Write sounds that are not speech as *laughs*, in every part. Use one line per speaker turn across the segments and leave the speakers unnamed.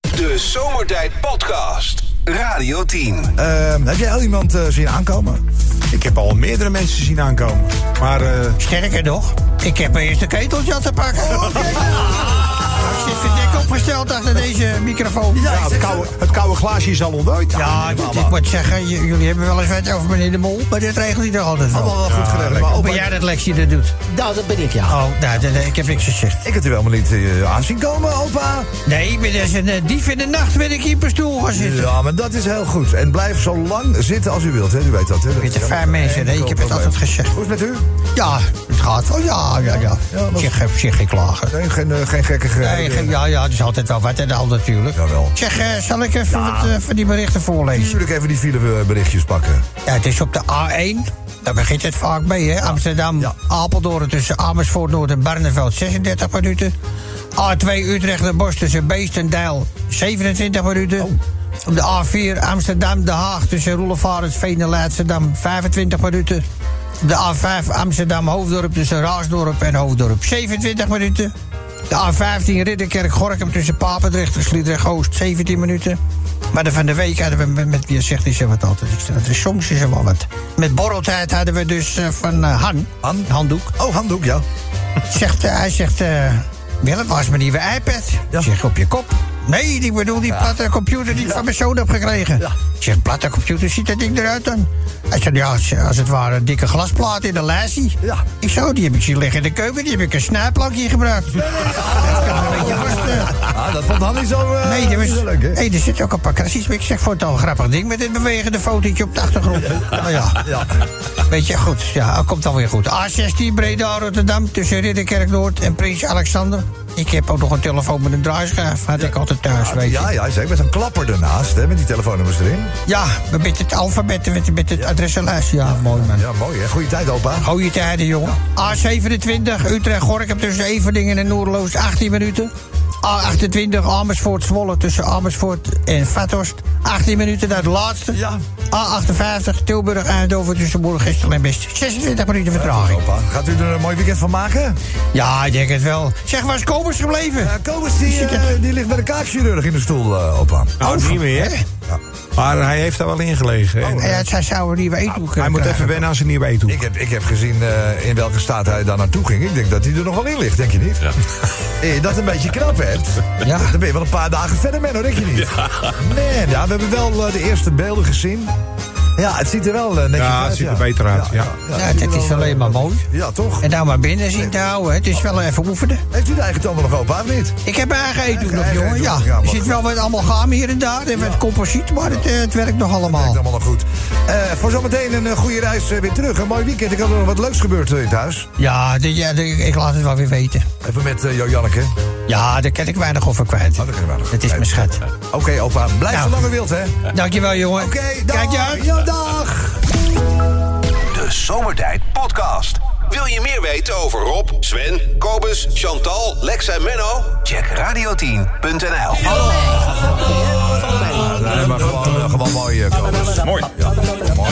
De Zomertijd Podcast. Radio 10.
Eh, heb jij al iemand eh, zien aankomen?
Ik heb al meerdere mensen zien aankomen. Maar eh,
Sterker nog, ik heb eerst de keteltje aan te pakken. *laughs* Ik zit verdek opgesteld achter deze microfoon.
ja, het, koude, het koude glaasje is al ontdooid. Ah,
Ja, dit- ik moet zeggen, j- jullie hebben wel eens wet over meneer de Mol, maar dit regelt hij toch altijd
Allemaal
wel.
wel goed geregeld. Maar
Hoe
opa,
ben jij dat Lexie dat doet?
Nou, dat ben ik, ja.
Oh, nou, dat- dat- ik heb niks gezegd.
ik had u helemaal niet eh, aan zien komen, opa.
Nee, ik ben als een eh, dief in de nacht ben ik hier per stoel gaan zitten.
Ja, maar dat is heel goed. En blijf zo lang zitten als u wilt, hè. U weet dat, hè. Dat
Ik ben
is
een fijn
helemaal
mens, hè.
geen
ik heb het
probleem.
altijd gezegd.
Hoe is het met u?
Ja, het gaat wel, ja, ja, ja.
Ja, dat-
Op zich, op zich geen klagen.
Nee, geen, eh, geen gekke
Nee, ge- ja, ja, het is altijd wel wat en al natuurlijk.
Jawel.
Zeg, eh, zal ik even wat, eh, van die berichten voorlezen?
Natuurlijk even die file eh, berichtjes pakken.
Ja, het is op de A1. Daar begint het vaak mee, hè? Amsterdam,
Ja.
Apeldoorn tussen Amersfoort Noord en Barneveld 36 minuten. A2 Utrecht naar Bos tussen Beest en Dijl 27 minuten.
Oh.
Op de A4 Amsterdam, De Haag tussen Roelevarensveen en Leidschendam 25 minuten. Op de A5 Amsterdam Hoofddorp tussen Raasdorp en Hoofddorp 27 minuten. De A15 Ridderkerk-Gorkum tussen Papendrecht en Sliedrecht-Oost 17 minuten. Maar de van de week hadden we met, met wie zegt is er wat altijd. Ik zeg, het is- Soms is er wel wat. Met borreltijd hadden we dus eh, van eh, Han,
Han?
handdoek.
Oh, handdoek, ja.
Zegt, eh, hij zegt, eh Willem, was mijn nieuwe iPad?
Ja.
Ik Zeg, op je kop. Nee, ik bedoel die platte computer die ik van mijn zoon heb gekregen.
Ja.
Ik Zeg, platte computer, ziet dat ding eruit dan? Hij zegt, ja, als, als het ware een dikke glasplaat in een lijstje.
Ja.
Ik zo, die heb ik zien liggen in de keuken, die heb ik een snijplankje gebruikt. Dat kan een beetje rusten.
*laughs* Ah, dat vond Han niet zo, eh,
Nee, er, was,
niet zo leuk, hè.
hey, er zit ook een paar krasjes. Ik zeg, vond het al een grappig ding met dit bewegende fotootje op de achtergrond. Nou ja,
Ja.
weet je, goed. Ja, het komt alweer goed. A16 Breda, Rotterdam, tussen Ridderkerk Noord en Prins Alexander. Ik heb ook nog een telefoon met een draaischijf. Had ik altijd thuis, weet je.
Ah, Ja, ja, zeker. Met zo'n klapper ernaast, hè, met die telefoonnummers erin.
Ja, met het alfabet, met, met het adressenlijst. Ja, mooi man.
Ja, mooi, hè. Goeie tijd, opa.
Goeie tijden, jongen. A27, Utrecht-Gorkum tussen Everdingen en Noordeloos, 18 minuten. A28, Amersfoort-Zwolle tussen Amersfoort en Vathorst, 18 minuten, dat laatste.
Ja.
A58, Tilburg-Eindhoven tussen Moergestel en Best, 26 minuten vertraging.
Opa, gaat u er een mooi weekend van maken?
Ja, ik denk het wel. Zeg, waar is Kobus gebleven?
Ja, Kobus, die,
Zit
eh,
er-
die ligt bij de kaakchirurg in de stoel, eh, opa.
Nou, niet meer. Maar hij heeft daar wel in gelegen. En, eh,
Ja, zij zou een nieuwe eh, eetboek
hij moet even wennen als hij niet weet hoe.
Ik heb, ik heb gezien eh, in welke staat hij daar naartoe ging. Ik denk dat hij er nog wel in ligt, denk je *laughs* niet? Ja. dat een beetje knap hebt.
Ja.
Dan ben je wel een paar dagen verder, man, hoor, denk je niet? Nee, ja, we hebben wel eh, de eerste beelden gezien. Ja, het ziet er wel eh, netjes uit.
Ja, het ziet er beter uit, ja.
Ja,
het ziet
dit
er
is
wel, eh,
alleen maar mooi.
Ja, toch?
En nou maar binnen zien te houden, het is wel even oefenen.
Heeft u de eigen tanden nog open, of niet?
Ik heb mijn eigen eetdoek
Eigen-
nog,
eigen
jongen. Ja,
eetdoek, ja,
er
maar
zit
goed.
wel wat amalgam hier en daar. En wat composiet, maar het, eh, het werkt nog allemaal.
Klinkt allemaal nog goed. Eh, voor zometeen een eh, goede reis eh, weer terug. Een mooi weekend. Ik had er nog wat leuks gebeurd eh, in het huis.
Ja, dit- ja dit- ik laat het wel weer weten.
Even met eh, Jo Janneke. Oh,
Ja, daar ken ik weinig over kwijt.
dat kunnen we nog.
Het is mijn schat.
Oké, opa. Blijf
Nou.
zo lang je wilt, hè?
Dankjewel, jongen.
Oké, dag.
Kijk je uit.
Ja, dag.
De Zomertijd Podcast. Wil je meer weten over Rob, Sven, Kobus, Chantal, Lex en Menno? Check radio10.nl.
Nee, maar gewoon, eh, gewoon mooi, eh, Kobus. Mooi. Ja, mooi.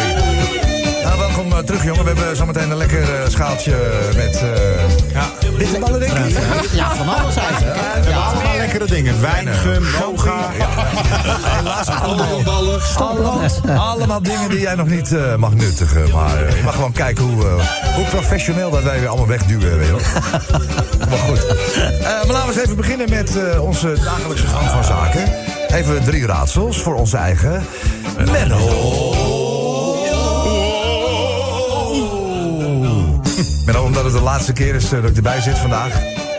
Nou, welkom eh, terug, jongen. We hebben zometeen een lekker eh, schaaltje met... eh ja. Dit ballen, denk ik.
Ja, van alles eigenlijk. hè.
Allemaal lekkere dingen. Wijn, gum, yoga.
Helaas allemaal, allemaal, allemaal dingen die jij nog niet eh, mag nuttigen. Maar eh, je mag gewoon kijken hoe, eh, hoe professioneel dat wij weer allemaal wegduwen. Weet je wel. maar goed. Eh, maar laten we eens even beginnen met eh, onze dagelijkse gang van zaken. Even drie raadsels voor onze eigen Menno. Oh. Menno, omdat het de laatste keer is eh, dat ik erbij zit vandaag...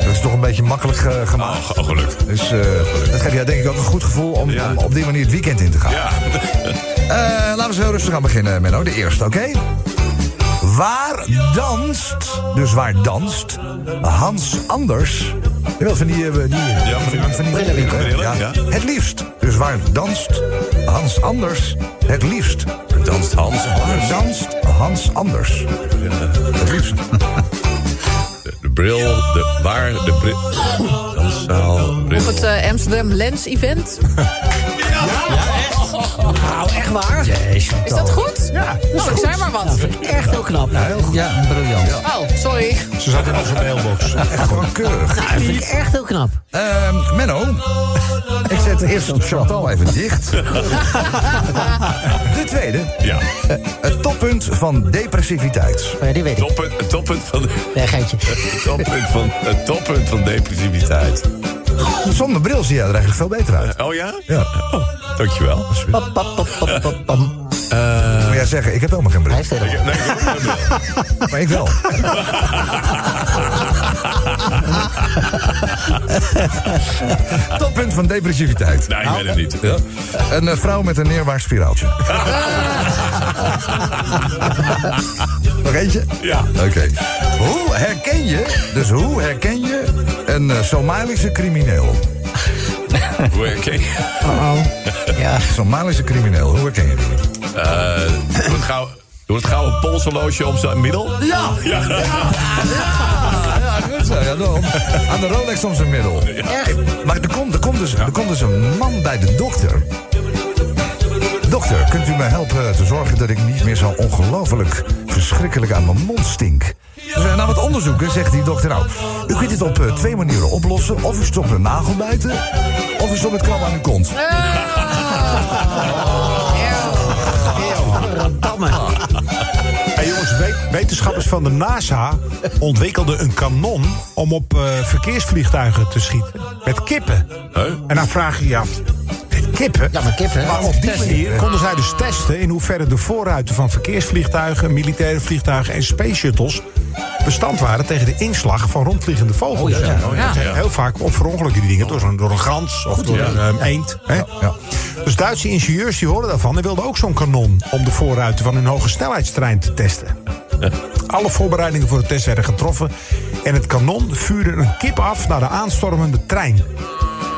Dat is toch een beetje makkelijk eh, gemaakt.
Oh, oh, gelukt.
Dus eh, dat geeft jou denk ik ook een goed gevoel om,
Ja.
om op die manier het weekend in te gaan.
Ja,
Eh, laten we zo rustig aan beginnen, Menno. De eerste, oké? Waar danst, dus waar danst, Hans Anders... Jawel, van die... eh, die
Ja, van die-
winkel, hè?
brillen,
ja.
ja.
Het liefst. Dus waar danst Hans Anders het liefst?
danst Hans.
Waar danst Hans Anders het liefst?
De, de bril, de waar, de bril. Danszaal, bril.
Op het eh, Amsterdam Lens *laughs* Event.
Nou, echt waar?
Is dat goed? Ja. Nou, ik zei maar wat.
Echt heel knap.
Ja, briljant.
Oh, sorry.
Ze zat in
*laughs*
onze mailbox.
Echt gewoon keurig.
Dat vind ik echt heel knap.
Ehm, Menno, ik zet eerst Chantal even dicht. De tweede.
Ja,
eh, het toppunt van depressiviteit.
Oh ja, die weet ik.
toppunt, het toppunt van,
Nee, geintje.
het toppunt van, het toppunt van depressiviteit.
Zonder bril zie jij er eigenlijk veel beter uit.
Oh ja?
Ja.
Oh, dankjewel.
Pap, pap, pap, pap, pap, pam.
Moet jij zeggen, ik heb helemaal geen
Hij
bril.
heeft het al.
Nee, ik heb ook een bril.
Maar ik wel.
*laughs*
Toppunt van depressiviteit.
Nee, ik weet het niet.
Ja. Een eh, vrouw met een neerwaarts spiraaltje. Nog eentje?
Ja.
Oké. Hoe herken je, dus hoe herken je een eh, Somalische crimineel?
Hoe herken je?
Ja,
Somalische crimineel, hoe herken je die?
Eh, Doe het gauw- doe het gauw een polsoloosje om zijn middel. Ja! ja.
Ja, goed zo, ja dan. Aan de Rolex om zijn middel. Echt? Maar er komt, er, komt dus, er komt dus een man bij de dokter. Dokter, kunt u mij helpen te zorgen dat ik niet meer zo ongelooflijk verschrikkelijk aan mijn mond stink? Dus eh, na wat onderzoeken zegt die dokter nou... U kunt dit op eh, twee manieren oplossen. Of u stopt een nagel buiten, of u stopt met krab aan uw kont.
Ah,
Hey jongens, we- wetenschappers van de NASA ontwikkelden een kanon om op eh, verkeersvliegtuigen te schieten. Met kippen. En dan vraag je je af, met kippen?
ja maar kippen.
Maar op die manier konden zij dus testen in hoeverre de voorruiten van verkeersvliegtuigen, militaire vliegtuigen en space shuttles bestand waren tegen de inslag van rondvliegende vogels.
Oh ja, ja.
Dat zijn Heel vaak op verongelukken die dingen, door, zo'n- door een grans of door een ehm, eend. Hè?
ja.
Dus Duitse ingenieurs die hoorden daarvan en wilden ook zo'n kanon om de voorruiten van hun hoge snelheidstrein te testen. Alle voorbereidingen voor de test werden getroffen en het kanon vuurde een kip af naar de aanstormende trein.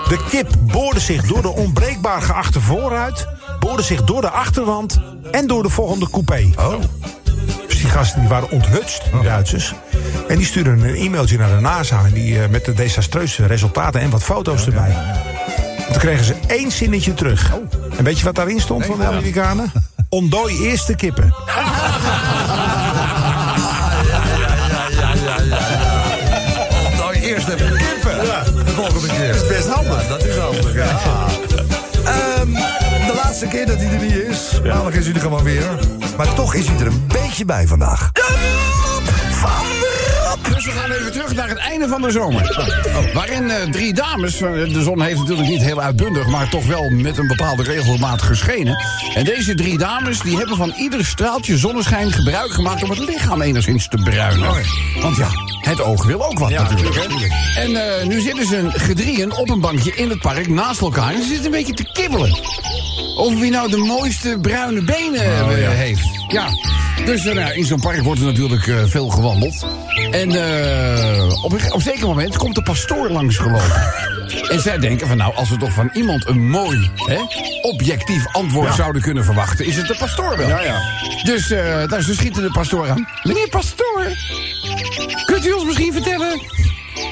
De kip boorde zich door de onbreekbaar geachte voorruit, boorde zich door de achterwand en door de volgende coupé.
Oh,
Dus die gasten die waren onthutst, die Duitsers. En die stuurden een e-mailtje naar de NASA en die, eh, met de desastreuze resultaten en wat foto's
Oh,
erbij. Toen kregen ze één zinnetje terug.
Oh.
En weet je wat daarin stond van de
*laughs*
Amerikanen? Ontdooi eerst de kippen.
nou eerst even kippen. De volgende keer. Dat is best handig. dat is handig, ja. Ehm, de laatste keer dat hij er niet is. Maandag is hij er gewoon weer. Maar toch is hij er een beetje bij vandaag.
Dus we gaan even terug naar het einde van de zomer. Waarin eh, drie dames, eh, de zon heeft natuurlijk niet heel uitbundig... maar toch wel met een bepaalde regelmaat geschenen. En deze drie dames die hebben van ieder straaltje zonneschijn gebruik gemaakt... om het lichaam enigszins te bruinen. Want ja, het oog wil ook wat natuurlijk. Hè? En eh, nu zitten ze gedrieën op een bankje in het park naast elkaar... en ze zitten een beetje te kibbelen over wie nou de mooiste bruine benen eh, heeft. Ja, dus eh, nou, in zo'n park wordt er natuurlijk eh, veel gewandeld. En eh, op, een, ge- op een zeker moment komt de pastoor *laughs* langsgelopen. En zij denken van nou, als we toch van iemand een mooi, hè, objectief antwoord zouden kunnen verwachten, is het de pastoor wel. Ja, ja. Dus eh daar ze schieten de pastoor aan. Meneer pastoor, kunt u ons misschien vertellen?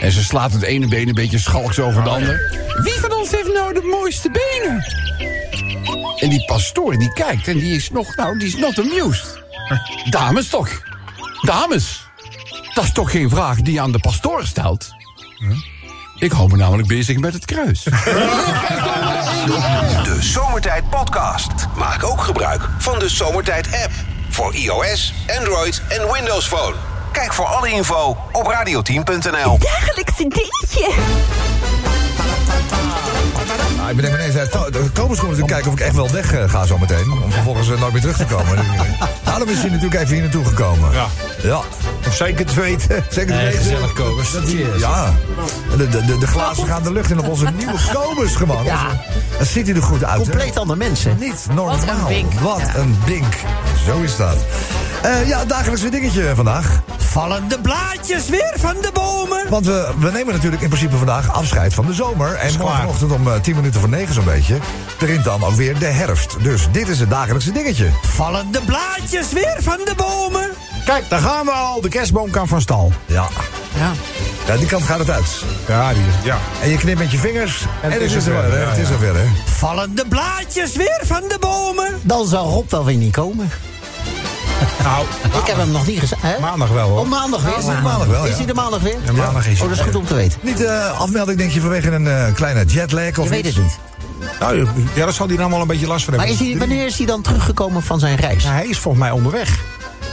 En ze slaat het ene been een beetje schalks over het andere. Wie van ons heeft nou de mooiste benen? En die pastoor die kijkt en die is nog, nou, die is not amused.
*laughs*
Dames toch? Dames, dat is toch geen vraag die je aan de pastoor stelt? Ik hou me namelijk bezig met het kruis.
De Zomertijd Podcast. Maak ook gebruik van de Zomertijd app. Voor iOS, Android en Windows Phone. Kijk voor alle info op radioteam.nl.
dagelijkse dingetje.
Nou, ik bedenk me ineens, eh, to- de Kobus komt natuurlijk kijken of ik echt wel weg eh, ga zo meteen. Om vervolgens eh, nooit meer terug te komen. Dus, eh, Daarom is hij natuurlijk even hier naartoe gekomen.
Ja.
Ja.
Zeker te weten.
Zeker te
Nee,
weten.
gezellig, Kobus.
Dat die-
Cheers.
Ja. De, de, de, de glazen gaan de lucht in op onze nieuwe Kobus gewoon.
Ja.
Dan ziet hij er goed uit. hè?
Compleet andere mensen.
Niet normaal.
Wat een bink.
Wat
Ja.
een bink. Zo is dat. Eh, ja, dagelijks weer dingetje vandaag.
Vallen de blaadjes weer van de bomen?
Want we, we nemen natuurlijk in principe vandaag afscheid van de zomer. En
klaar.
morgenochtend om eh, 10 minuten voor 9 zo'n beetje... begint dan ook weer de herfst. Dus dit is het dagelijkse dingetje.
Vallen de blaadjes weer van de bomen?
Kijk, daar gaan we al. De kerstboom kan van stal.
Ja.
Ja.
ja, die kant gaat het uit.
Ja, die ja.
En je knipt met je vingers en, het is
zover,
zover. hè?
ja,
Het is
ja.
zover, hè?
Vallen de blaadjes weer van de bomen?
Dan zou Rob wel weer niet komen.
Nou,
*laughs*
Ik heb hem nog niet gezegd. hè?
Maandag wel, hoor.
Oh, maandag weer.
is hij maandag wel, ja.
Is hij de maandag weer?
maandag is hij
Oh, dat is goed om te weten.
Niet eh afmelding, denk je, vanwege een eh, kleine jetlag of
Je weet
iets?
het niet.
Nou, ja, daar zal hij nou wel een beetje last van
Maar
hebben.
is hij, wanneer is hij dan teruggekomen van zijn reis?
Nou, hij is volgens mij onderweg.
*laughs*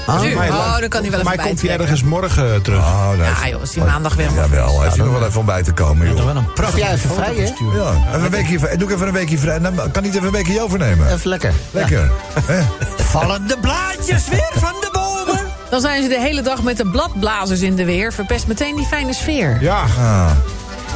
Nu.
Volgens mij-
Oh, dan kan hij wel
volgens
even
mij komt hij
bijtrekken.
ergens morgen eh, terug.
Oh, nee.
Ja, Ah, joh, is die maandag weer helemaal
Jawel, heeft hij nog wel even om bij te komen,
Toch
joh.
wel een prachtig. jij even vrij, hè?
Ja, even een weekje, vrij- doe ik even een weekje vrij. Dan kan niet even een weekje overnemen.
Even lekker.
Lekker. hè?
Vallen de blaadjes weer van de bomen?
Dan zijn ze de hele dag met de bladblazers in de weer. Verpest meteen die fijne sfeer.
Ja.
Ah.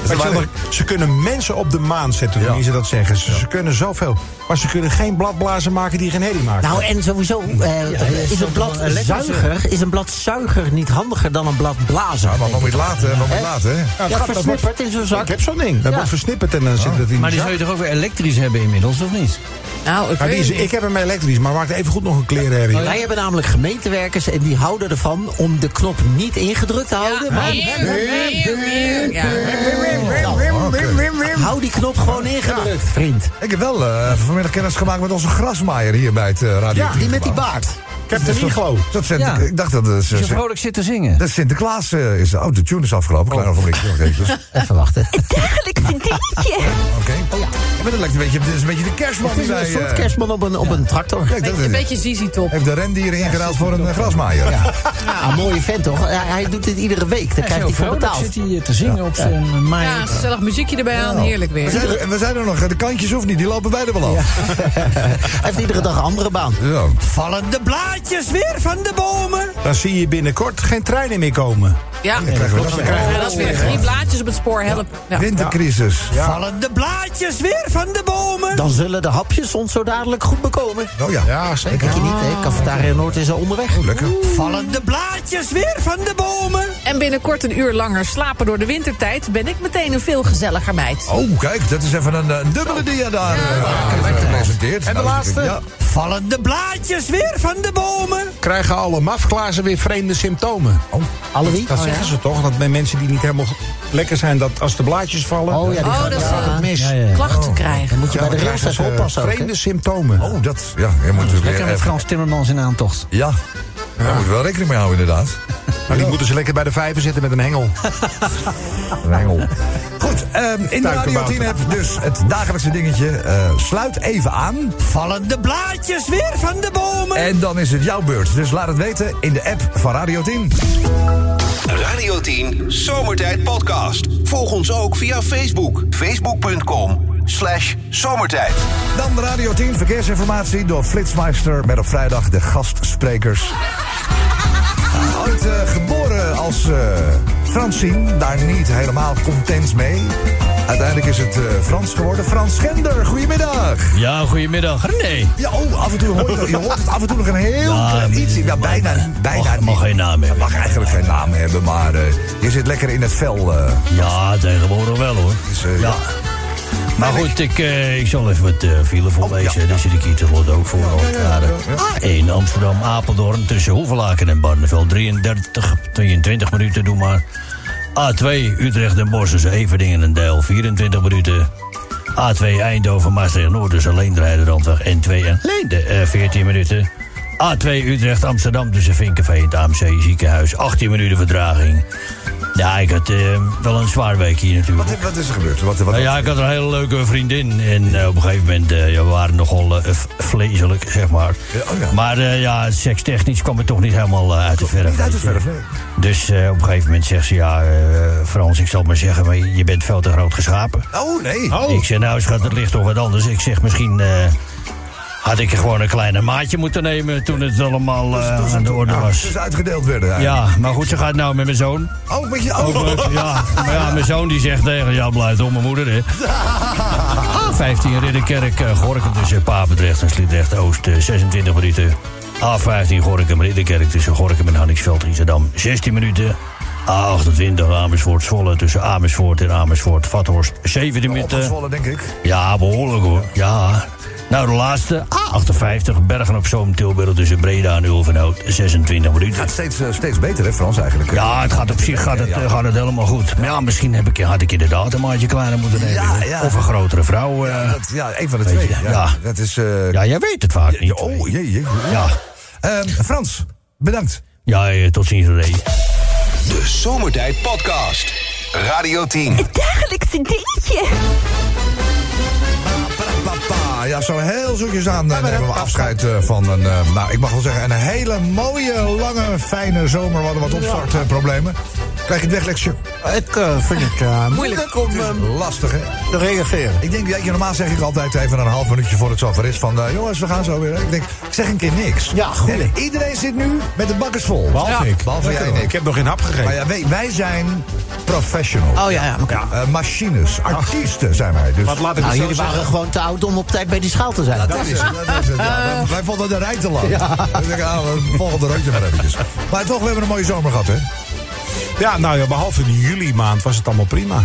Weet je wel, ze kunnen mensen op de maan zetten, hoe ze dat zeggen. Ze, ze kunnen zoveel. Maar ze kunnen geen bladblazen maken die geen herrie maken.
Nou, en sowieso eh, is een bladzuiger is een bladzuiger niet handiger dan een bladblazer.
Ja, maar wat moet je laten, hè? wat moet je laten, hè?
Ja, het
ja,
gaat- dat wordt-
versnipperd in zo'n zak.
Ik heb zo'n ding. Dat
Ja.
wordt versnipperd en dan zit dat in
Maar
de
die
zak.
zou je toch ook weer elektrisch hebben inmiddels, of niet?
Oh,
Nou, ik
Maar die
weet
is-
het niet.
ik heb hem elektrisch, maar maakt even goed nog een klerenherrie.
Wij hebben namelijk gemeentewerkers en die houden ervan om de knop niet ingedrukt te houden. maar
Weer, weer, weer. Ja.
Oh. hou die knop gewoon ingedrukt, vriend.
Ik heb wel eh, vanmiddag kennis gemaakt met onze grasmaaier hier bij het eh, Radio
Ja,
10
Die met die
gebouw.
baard.
Captain Iglo.
Dat Sint-
Ja.
Ik dacht dat eh,
Als je
Sint-
vrolijk zit te zingen.
dat Sinterklaas eh, is. Oh, de tune is afgelopen. Klein ogenblikje. nog eventjes. Oké.
Even wachten.
Dagelijks Sinterklaasje.
Oh ja. Maar dat lijkt een beetje. Dit is een beetje de kerstman.
Het is
die
een
wij,
soort
eh,
kerstman op een, op een tractor.
Kijk, dat
Beetje- Een
is.
beetje zizi top.
Heeft de rendieren ingeruild voor een eh, grasmaaier.
Ja, een mooie vent toch? Hij, hij doet dit iedere week. Daar
Hij is
krijgt
heel
hij voor
vrolijk,
betaald.
zit hij eh, te zingen op zijn eh, maai.
Ja, gezellig muziekje erbij aan. Heerlijk
We
weer.
zijn, er, we zijn er nog. eh, De kantjes of niet, die lopen wij er wel af.
Hij heeft iedere dag een andere baan.
Ja.
Vallen de blaadjes weer van de bomen?
Dan zie je binnenkort geen treinen meer komen.
Ja,
Krijgen we dat weer.
Ja, dat is weer drie blaadjes op het spoor. Help. Ja.
Wintercrisis.
Vallen de blaadjes weer van de bomen?
Dan zullen de hapjes ons zo dadelijk goed bekomen.
Oh ja.
Ja,
Dat
zeker.
denk je niet, hè? Cafetaria Noord is al onderweg.
Lekker.
Vallen de blaadjes weer van de bomen?
En binnenkort een uur langer slapen door de wintertijd... ben ik meteen een veel gezelliger meid.
Oh, kijk, dat is even een, eh, dubbele dia daar eh, gepresenteerd. Nou, En de laatste? Ja.
Vallen de blaadjes weer van de bomen?
Krijgen alle mafglazen weer vreemde symptomen?
Oh.
Alle wie?
Dat zeggen ze toch? Dat bij mensen die niet helemaal lekker zijn, dat als de blaadjes vallen...
Oh ja, die
Oh,
gaat
dat is
ja.
een-
mis.
Ja, ja.
Klachten krijgen.
Moet je bij de
dan
rails
krijgen
even
ze
oppassen. ook, hè?
Vreemde symptomen.
Oh, dat. Ja, je moet er weer
Lekker met
even-
Frans Timmermans in aantocht.
Ja. Daar moet je wel rekening mee houden, inderdaad.
Maar die moeten ze lekker bij de vijver zitten met een hengel.
Een hengel. Goed, ehm, in de Radio
Tuikenbouten.
10 app dus het dagelijkse dingetje. eh, sluit even aan.
Vallen de blaadjes weer van de bomen?
En dan is het jouw beurt. Dus laat het weten in de app van Radio 10.
Radio 10 Zomertijd Podcast. Volg ons ook via Facebook. Facebook.com slash zomertijd.
Dan Radio 10 verkeersinformatie door Flitsmeister met op vrijdag de gastsprekers. Ooit eh, geboren als eh Francine, daar niet helemaal content mee. Uiteindelijk is het eh, Frans geworden. Frans Schender, goedemiddag.
Ja, goedemiddag. Nee.
Ja, oh, af en toe hoort je hoort het af en toe nog een heel
Ja,
klein
maar-
iets. Ja, bijna, bijna
mag- mag
niet.
geen naam hebben.
Mag eigenlijk geen naam hebben, maar eh, je zit lekker in het vel. eh.
Ja, tegenwoordig wel hoor.
Dus, eh, ja.
Maar goed, ik, eh, ik zal even wat eh file
Oh,
voorlezen. Daar zit ik hier te lot ook voor elkaar.
Ah.
A1 Amsterdam, Apeldoorn tussen Hoevelaken en Barneveld. 33, 22 minuten, doe maar. A2 Utrecht en Bosch tussen Everdingen en Deil. 24 minuten. A2 Eindhoven, Maastricht Noord tussen Leendre en Randweg. En 2 en Leende, eh, 14 minuten. A2 Utrecht, Amsterdam tussen Vinkenveen en het AMC ziekenhuis. 18 minuten vertraging. Ja, ik had eh, wel een zwaar week hier natuurlijk.
Wat, wat is er gebeurd? Wat, wat,
Nou ja, ik had een hele leuke vriendin. En eh, op een gegeven moment, eh, ja, we waren nogal eh, v- vleeselijk, zeg maar.
Ja, oh ja.
Maar eh, ja, sekstechnisch kwam het toch niet helemaal eh, uit de verf.
Niet uit de
weet je.
verf, nee.
Dus eh, op een gegeven moment zegt ze, ja, eh, Frans, ik zal maar zeggen, maar je bent veel te groot geschapen.
Oh nee.
Ik zeg, nou schat, het ligt toch wat anders. Ik zeg, misschien eh, had ik gewoon een kleiner maatje moeten nemen toen het allemaal eh, aan de orde was.
Dus uitgedeeld werden. eigenlijk.
Ja, maar goed, ze gaat nou met mijn zoon.
Oh, met je
Ook leuk,
ogen. *laughs*
ja. Maar ja, mijn zoon die zegt tegen ja, blijf om mijn moeder, hè. Ah, A15 Ridderkerk, eh, Gorinchem tussen Papendrecht en Sliedrecht-Oost, eh, 26 minuten. A15 Gorinchem Ridderkerk tussen Gorinchem en Hanningsveld, Amsterdam 16 minuten. A28 Amersfoort-Zwolle tussen Amersfoort en Amersfoort-Vathorst, 17 minuten.
Opgezwollen, denk ik.
Ja, behoorlijk hoor. Ja. Nou, de laatste. A58, Bergen op Zoom, Tilburg tussen Breda en Ulvenhout. 26 minuten.
Gaat steeds, eh, steeds beter, hè, Frans, eigenlijk.
Ja, het gaat op zich gaat het, eh, gaat het helemaal goed. Maar ja, misschien heb ik, had ik inderdaad een maatje kleiner moeten nemen.
Ja, ja.
Of een grotere vrouw. eh.
Dat, ja, een van de
Weet
twee.
je,
Ja.
ja.
Dat is... eh,
ja, jij weet het vaak niet.
oh, jee, jee.
Ja,
Ehm, Frans, bedankt.
ja eh, tot ziens, Ray.
De Zomertijd Podcast. Radio 10.
Het dagelijkse dingetje.
Para, ja, zo heel zoetjes aan eh, nemen we afscheid eh, van een, eh, nou, ik mag wel zeggen, een hele mooie, lange, fijne zomer. We hadden wat opstartproblemen. Krijg je het weg, Lexje?
Ik eh, vind het eh, moeilijk om
Het
eh,
is lastig, hè?
te reageren.
Ik denk, weet je, normaal zeg ik altijd even een half minuutje voor het zover is van... eh, jongens, we gaan zo weer. Ik denk, ik zeg een keer niks.
Ja, goed.
En iedereen zit nu met de bakkers vol.
Behalve ik.
Behalve jij en
Ik
ik.
heb nog geen hap gegeten.
Maar ja, wij, wij zijn professionals.
Oh ja, ja. oké.
Eh, machines, artiesten zijn wij. Dus
Wat laat ik
Nou,
het zo
jullie waren
zeggen.
gewoon te oud om op tijd bij die schaal te zijn.
dat is het. Dat is het
*laughs*
ja. Wij- Wij vonden de rij te lang. Dus ik, ah, we volgende rondje maar eventjes. Maar toch, we hebben een mooie zomer gehad, hè?
Ja, nou ja, behalve in juli maand was het allemaal prima.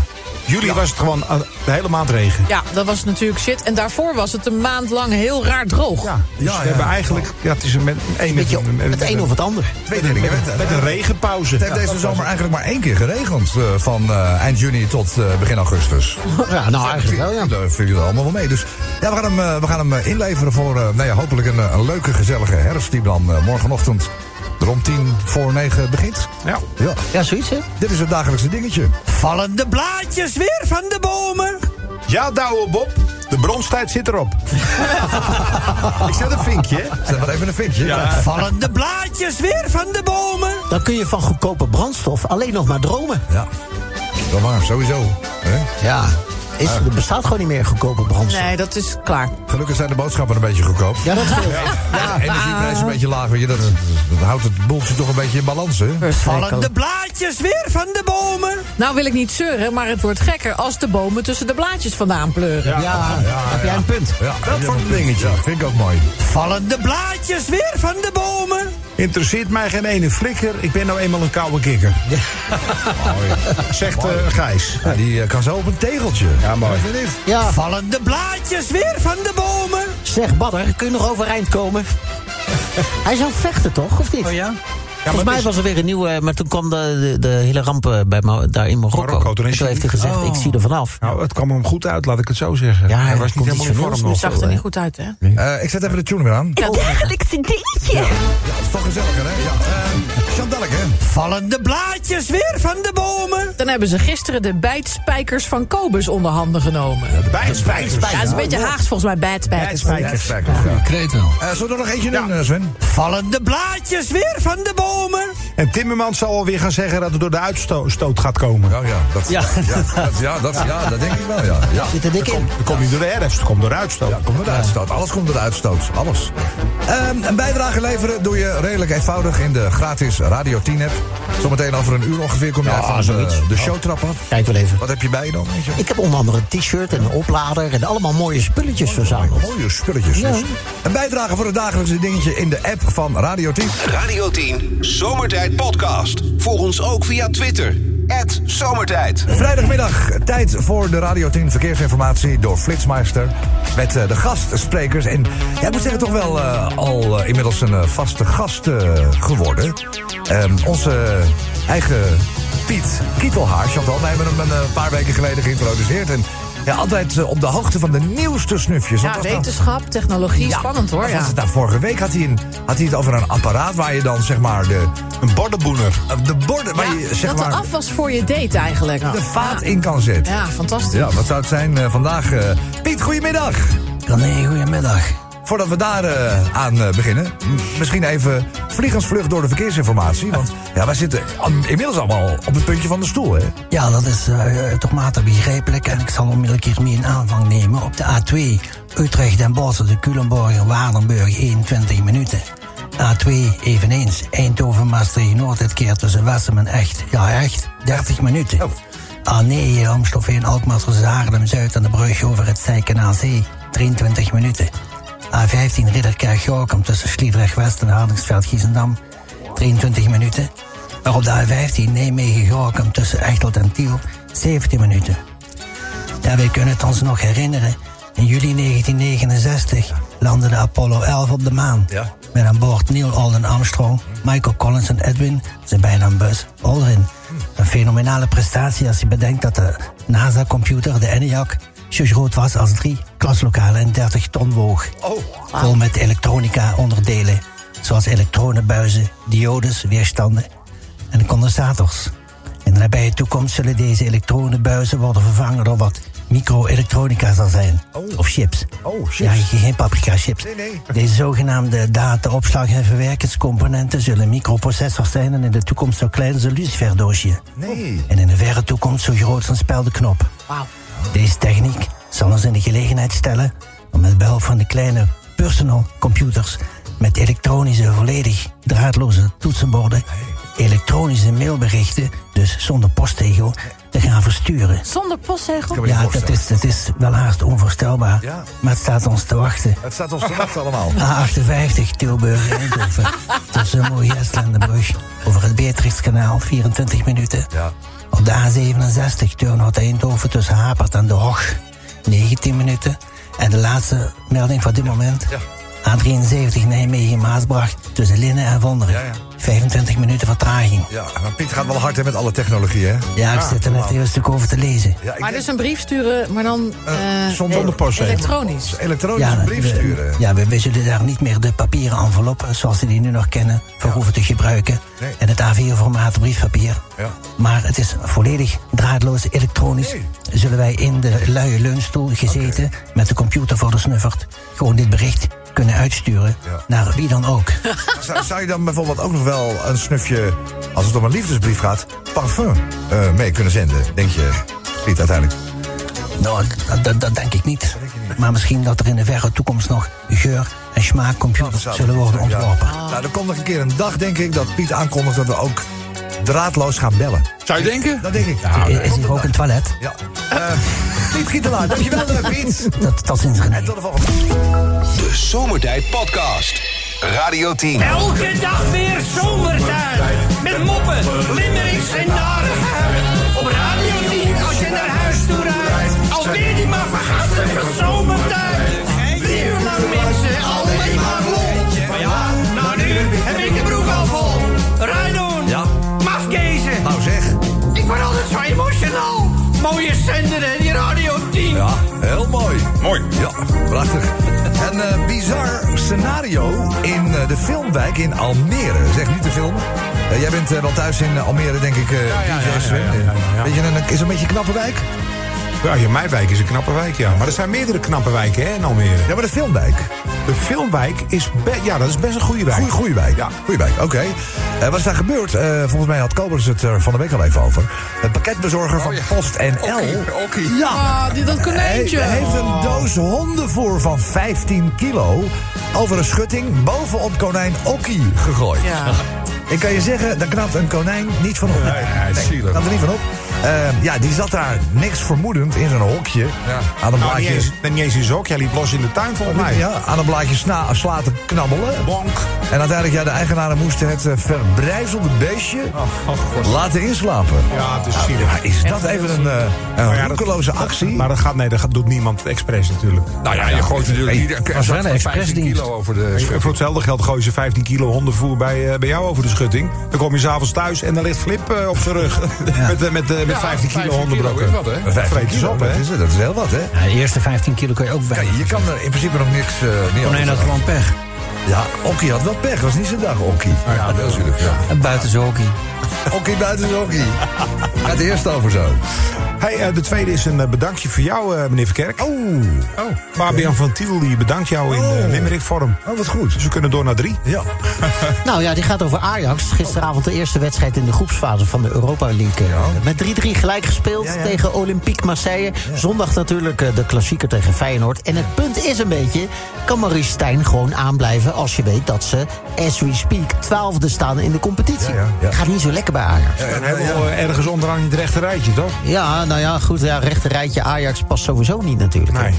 Juli was het gewoon eh, de hele maand regen.
Ja, dat was natuurlijk shit. En daarvoor was het een maand lang heel raar droog.
Ja, dus
Ja,
we
ja.
hebben eigenlijk... Ja, het is een, met, een,
Weet je,
met-
het een of het ander.
Twee dingen.
met, met een regenpauze.
Het heeft deze zomer eigenlijk maar één keer geregend. eh, van eh, eind juni tot eh, begin augustus.
Ja, nou eigenlijk wel, ja.
Daar viel je er allemaal wel mee. Dus ja, we gaan hem, eh, we gaan hem eh, inleveren voor eh, nou ja, hopelijk een, eh, een leuke, gezellige herfst. Die dan eh, morgenochtend er om tien voor negen begint.
Ja.
Ja,
Ja, zoiets, hè?
dit is het dagelijkse dingetje.
Vallen de blaadjes weer van de bomen?
Ja, Douwe Bob, de bronstijd zit erop. ik zet een vinkje.
Zet maar even een vinkje. Ja.
Vallen de blaadjes weer van de bomen? Dan kun je van goedkope brandstof alleen nog maar dromen.
ja. Dat waar, sowieso. hè?
Ja, Ah. is, er bestaat gewoon niet meer goedkope brandstof.
Nee, dat is klaar.
Gelukkig zijn de boodschappen een beetje goedkoop.
Ja, dat scheelt.
Ja, de energieprijs is een beetje laag. Weet je. Dat, dat- dat houdt het boeltje toch een beetje in balans, hè?
Vallen de
blaadjes weer van de bomen.
Nou wil ik niet zeuren, maar het wordt gekker als de bomen tussen de blaadjes vandaan pleuren. Dus
Ja, heb jij een punt?
Ja, dat soort dingetje. Ja, vind ik ook mooi.
Vallen de blaadjes weer van de bomen?
Interesseert mij geen ene flikker. Ik ben nou eenmaal een koude kikker. Zegt eh, Gijs.
Ja, die eh, kan zo op een tegeltje. Ja, mooi. Vind je niet?
Ja.
Vallen de blaadjes weer van de bomen.
Zeg, Badder, kun je nog overeind komen? Hij zou vechten, toch? Of niet?
Oh ja?
Volgens mij was er weer een nieuwe, eh, maar toen kwam de, de, de hele ramp eh, bij, Ma- daar in Marokko.
Marokko, toen is
En
hij-
heeft hij gezegd,
Oh.
ik zie er vanaf.
Nou, het kwam hem goed uit, laat ik het zo zeggen.
Ja,
hij
hij
was niet
komt
helemaal in
niet zo
vorm
veel
nog.
Zag er niet goed uit, hè?
Eh, ik zet even de tune weer aan.
Het dagelijkse dingetje.
Ja, dat is toch gezelliger, hè? Ja, eh, Chantalek, hè?
Vallen de blaadjes weer van de bomen.
Dan hebben ze gisteren de bijtspijkers van Kobus onder handen genomen. Ja,
Bij spijkers.
dat is een beetje Haags volgens mij, bijtspijkers.
Spijkers.
Ja.
Kreet wel.
Eh, zullen we er nog eentje doen, eh, Sven?
Vallen de blaadjes weer van de bomen.
En Timmermans zal alweer gaan zeggen dat het door de uitstoot gaat komen.
Oh, Ja, ja, dat, ja.
Ja.
dat, *laughs* ja, dat, ja, dat denk ik wel, ja. ja.
Zit er dik in?
Het komt niet door de herfst, het komt door de uitstoot.
Ja, komt door de uitstoot. Alles komt door de uitstoot. Alles. Ehm, een bijdrage leveren doe je redelijk eenvoudig in de gratis Radio 10 app. Zometeen over een uur ongeveer kom je
Ja,
van de,
zoiets.
de showtrap af.
Kijk wel even.
Wat heb je bij je dan? weet je?
Ik heb onder andere een t-shirt en een oplader en allemaal mooie spulletjes verzameld.
Mooie spulletjes.
Ja.
Dus. Een bijdrage voor het dagelijkse dingetje in de app van Radio 10.
Radio 10 Zomertijd Podcast. Volg ons ook via Twitter. Zomertijd.
Vrijdagmiddag, tijd voor de Radio 10 verkeersinformatie door Flitsmeister. Met eh, de gastsprekers. En jij moet zeggen, toch wel eh, al eh, inmiddels een eh, vaste gast eh, geworden. Ehm, onze eh, eigen Piet Kietelhaar, Chantal. Wij hebben hem een eh, paar weken geleden geïntroduceerd. En ja, altijd eh, op de hoogte van de nieuwste snufjes. Want
Ja,
dat was nou-
wetenschap, technologie, spannend hoor.
wat
Ja.
Was het nou, vorige week had hij, een, had hij het over een apparaat waar je dan zeg maar de,
Een bordenboener.
eh, de borden, waar
Ja,
je zeg
dat de
maar
afwas voor je date eigenlijk.
de vaat in kan zetten.
Ja, fantastisch.
Ja, wat zou het zijn eh, vandaag? eh, Piet, goedemiddag.
Nee, goedemiddag.
Voordat we daar eh, aan eh, beginnen, m- misschien even vliegensvlucht door de verkeersinformatie. Want ja, wij zitten an- inmiddels allemaal op het puntje van de stoel, hè?
Ja, dat is eh, eh, toch matig begrijpelijk. En ik zal onmiddellijk hiermee een aanvang nemen. Op de A2 Utrecht en Bossen, de Culemborg en Waardenburg 21 minuten. A2 eveneens Eindhoven, Maastricht, Noord dit keer tussen Wessem en Echt. Ja, echt 30 minuten.
Oh.
A9 Amstelveen, Alkmaar tussen Haarlem Zuid en de brug over het Zijkenaazee 23 minuten. A15 Ridderkerk Gorkum tussen Sliedrecht West en Hardingsveld Giesendam 23 minuten. Maar op de A15 Nijmegen Gorkum tussen Echtelt en Tiel 17 minuten. Ja, wij kunnen het ons nog herinneren. In juli 1969 landde de Apollo 11 op de maan.
Ja.
Met aan boord Neil Alden Armstrong, Michael Collins en Edwin, zijn bijna een bus, Aldrin. Een fenomenale prestatie als je bedenkt dat de NASA-computer, de ENIAC, zo groot was als drie klaslokalen en 30 ton woog.
Oh.
Vol met elektronica-onderdelen, zoals elektronenbuizen, diodes, weerstanden en condensators. In de nabije toekomst zullen deze elektronenbuizen worden vervangen door wat micro-elektronica zal zijn. Of chips.
Oh, chips.
Ja, je- geen paprika chips. Deze zogenaamde data-opslag- en verwerkingscomponenten zullen microprocessors zijn en in de toekomst zo klein als een luciferdoosje.
Nee.
En in de verre toekomst zo groot als een speldenknop. Deze techniek zal ons in de gelegenheid stellen om met behulp van de kleine personal computers met elektronische, volledig draadloze toetsenborden, elektronische mailberichten, dus zonder postzegel, te gaan versturen.
Zonder postzegel?
Ja, dat is, dat is wel haast onvoorstelbaar,
Ja.
maar het staat ons te wachten.
Het staat ons te wachten allemaal.
A58 Tilburg Eindhoven. Tussen Moerjes Lendenbrug. Over het Beatrixkanaal 24 minuten.
Ja.
Op de A67 Turnhout Eindhoven tussen Hapert en De Hoog 19 minuten. En de laatste melding van dit moment. A73 Nijmegen Maasbracht tussen Linnen en Wonderen. 25 minuten vertraging.
Ja, maar Piet gaat wel hard hè, met alle technologie, hè?
Ja, ik zit er net even een stuk over te lezen.
Ja, ik
Maar
denk-
dus een brief sturen, maar dan eh,
zonder
e-
postzegel.
Elektronisch.
elektronische
we-
brief
we-
sturen.
eh, ja, we, we zullen daar niet meer de papieren enveloppen zoals we die nu nog kennen voor hoeven te gebruiken.
Nee.
En het A4-formaat briefpapier.
Ja.
Maar het is volledig draadloos elektronisch. Zullen wij in de luie leunstoel gezeten met de computer voor de snuffert gewoon dit bericht kunnen uitsturen
Ja.
naar wie dan ook.
Zou, zou je dan bijvoorbeeld ook nog wel een snufje, als het om een liefdesbrief gaat, parfum eh, mee kunnen zenden? Denk je, Piet, uiteindelijk?
nou, dat, dat, dat denk ik niet. Maar misschien dat er in de verre toekomst nog geur- en smaakcomputers
Nou, zou-
zullen worden
ja.
ontworpen.
Nou, er komt nog een keer een dag, denk ik, dat Piet aankondigt dat we ook draadloos gaan bellen.
Zou je denken?
Dat denk ik.
Nou,
Is- Is hier ook een toilet?
Ja. Eh, Piet Gietelaar, dankjewel eh, Piet.
Dat, dat is een
En tot de volgende.
De Zomertijd Podcast. Radio 10.
Elke dag weer zomertijd. Met moppen, limericks en narigheid. Op Radio 10 als je naar huis toe rijdt. Alweer die maar vergastige zomertijd. Drie uur lang mensen, alleen maar lol. Maar ja, nou nu heb ik de broek al vol. Rijdoen,
Ja.
mafkezen.
Nou zeg,
Ik word altijd zo emotional. Mooie zender hè, die Radio 10.
ja, heel mooi. Mooi. Ja, prachtig. Een eh, bizar scenario in eh, de filmwijk in Almere. Zeg niet de film. Eh, jij bent eh, wel thuis in eh, Almere, denk ik, eh
ja,
DJ
ja,
Sven.
ja, ja, ja, ja.
Weet je, een- is het een beetje een knappe wijk?
Ja, ja, mijn wijk is een knappe wijk, ja. Maar er zijn meerdere knappe wijken hè, in Almere.
Ja, maar de filmwijk.
De filmwijk is, be- ja, dat is best een goede wijk.
Goeie, goeie wijk. Ja, goeie wijk. Oké. Eh, wat is daar gebeurd? Eh, volgens mij had Kobers het er van de week al even over. De pakketbezorger van Post NL. Ja.
Ah, die, dat
Hij
konijntje.
heeft een doos hondenvoer van 15 kilo over een schutting bovenop konijn Okkie gegooid.
Ja.
Ik kan je zeggen, daar knapt een konijn niet van op.
hij is zielig.
knapt er niet van op. Eh, ja, die zat daar niks vermoedend in zijn hokje. Aan een
Nou, niet
blaadje.
eens, niet eens in zak. Jij liep los in de tuin volgens mij.
Ja, aan een blaadje sna, sla te knabbelen.
Bonk.
En uiteindelijk, ja, de eigenaren moesten het eh, verbrijzelde beestje laten inslapen.
Ja, het is zielig.
Maar is dat even een, eh, een
Maar Nou ja, dat-
roekeloze actie?
Maar dat, gaat, nee, dat gaat- doet niemand expres natuurlijk.
Nou ja, je gooit natuurlijk
Hey,
ieder-
was wel een
15
expressdienst.
kilo
eh,
over de schutting.
Voor hetzelfde geld gooien ze 15 kilo hondenvoer bij, eh, bij jou over de schutting. Dan kom je s'avonds thuis en dan ligt Flip eh, op zijn rug. *laughs* Met, eh, met, eh, met 15 kilo hondenbrokken.
is wat, hè?
Dat vreet ze op,
dat,
hè?
is, het, dat is heel wat, hè?
Ja, de eerste 15 kilo kan je ook bij.
Kijk, je kan er in principe nog niks eh meer
Oh nee,
aan
dat is
doen.
gewoon pech.
Ja, Okkie had wel pech. Het was niet zijn dag, Okkie. Ja, natuurlijk. Ja.
En buiten zijn hockey.
*laughs* Okkie buiten is Okkie. Gaat eerst over zo.
Hey, eh, de tweede is een eh, bedankje voor jou, eh, meneer Verkerk.
Oeh.
Oh, Fabian van Tiel, die bedankt jou in
Oh.
eh Limerick-vorm.
Oh, wat goed.
Dus we kunnen door naar drie.
Ja.
Nou ja, die gaat over Ajax. Gisteravond de eerste wedstrijd in de groepsfase van de Europa League. eh, Met 3-3 gelijk gespeeld
Ja, ja.
tegen Olympique Marseille. Zondag natuurlijk eh, de klassieker tegen Feyenoord. En het punt is een beetje, kan Maurice Stijn gewoon aanblijven... als je weet dat ze, as we speak, twaalfde staan in de competitie.
Ja, ja, ja.
Gaat niet zo lekker bij Ajax.
En dan hebben we al, eh, ergens onderaan het rechte rijtje, toch?
Ja, nou ja, goed. Ja, rechterrijtje Ajax past sowieso niet natuurlijk.
Nee.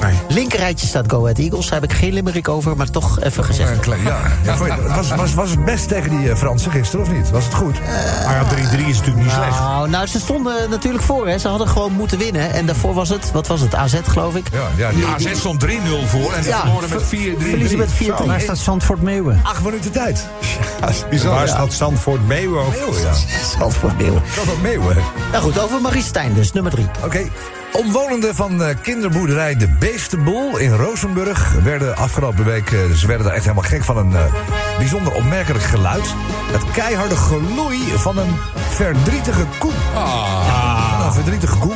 nee.
Linkerrijtje staat Go Ahead Eagles. Daar heb ik geen limerick over, maar toch even gezegd.
Een klein- ja. ja vond je- was, was, was het best tegen die eh, Fransen gisteren, of niet? Was het goed?
Maar ja, 3-3 is natuurlijk niet slecht.
Nou, nou, ze stonden natuurlijk voor. Hè. Ze hadden gewoon moeten winnen. En daarvoor was het, wat was het, AZ geloof ik.
Ja, ja, die
AZ stond 3-0 voor en ze
Ja,
verloren met 4-3.
Verliezen met 4-3.
Waar staat Zandvoort Meeuwen?
acht minuten tijd.
Ja, is bizar. Waar staat Zandvoort Meeuwen ook?
Meeuwen, ja.
Zandvoort Meeuwen.
Dat ook meeuwen.
Nou goed, over Marie Stijn dus, nummer 3.
Oké. Omwonenden van eh, kinderboerderij De Beestenboel in Rozenburg werden afgelopen week, eh, ze werden daar echt helemaal gek van een eh, bijzonder opmerkelijk geluid. Het keiharde geloei van een verdrietige koe. Ah. Van een verdrietige koe.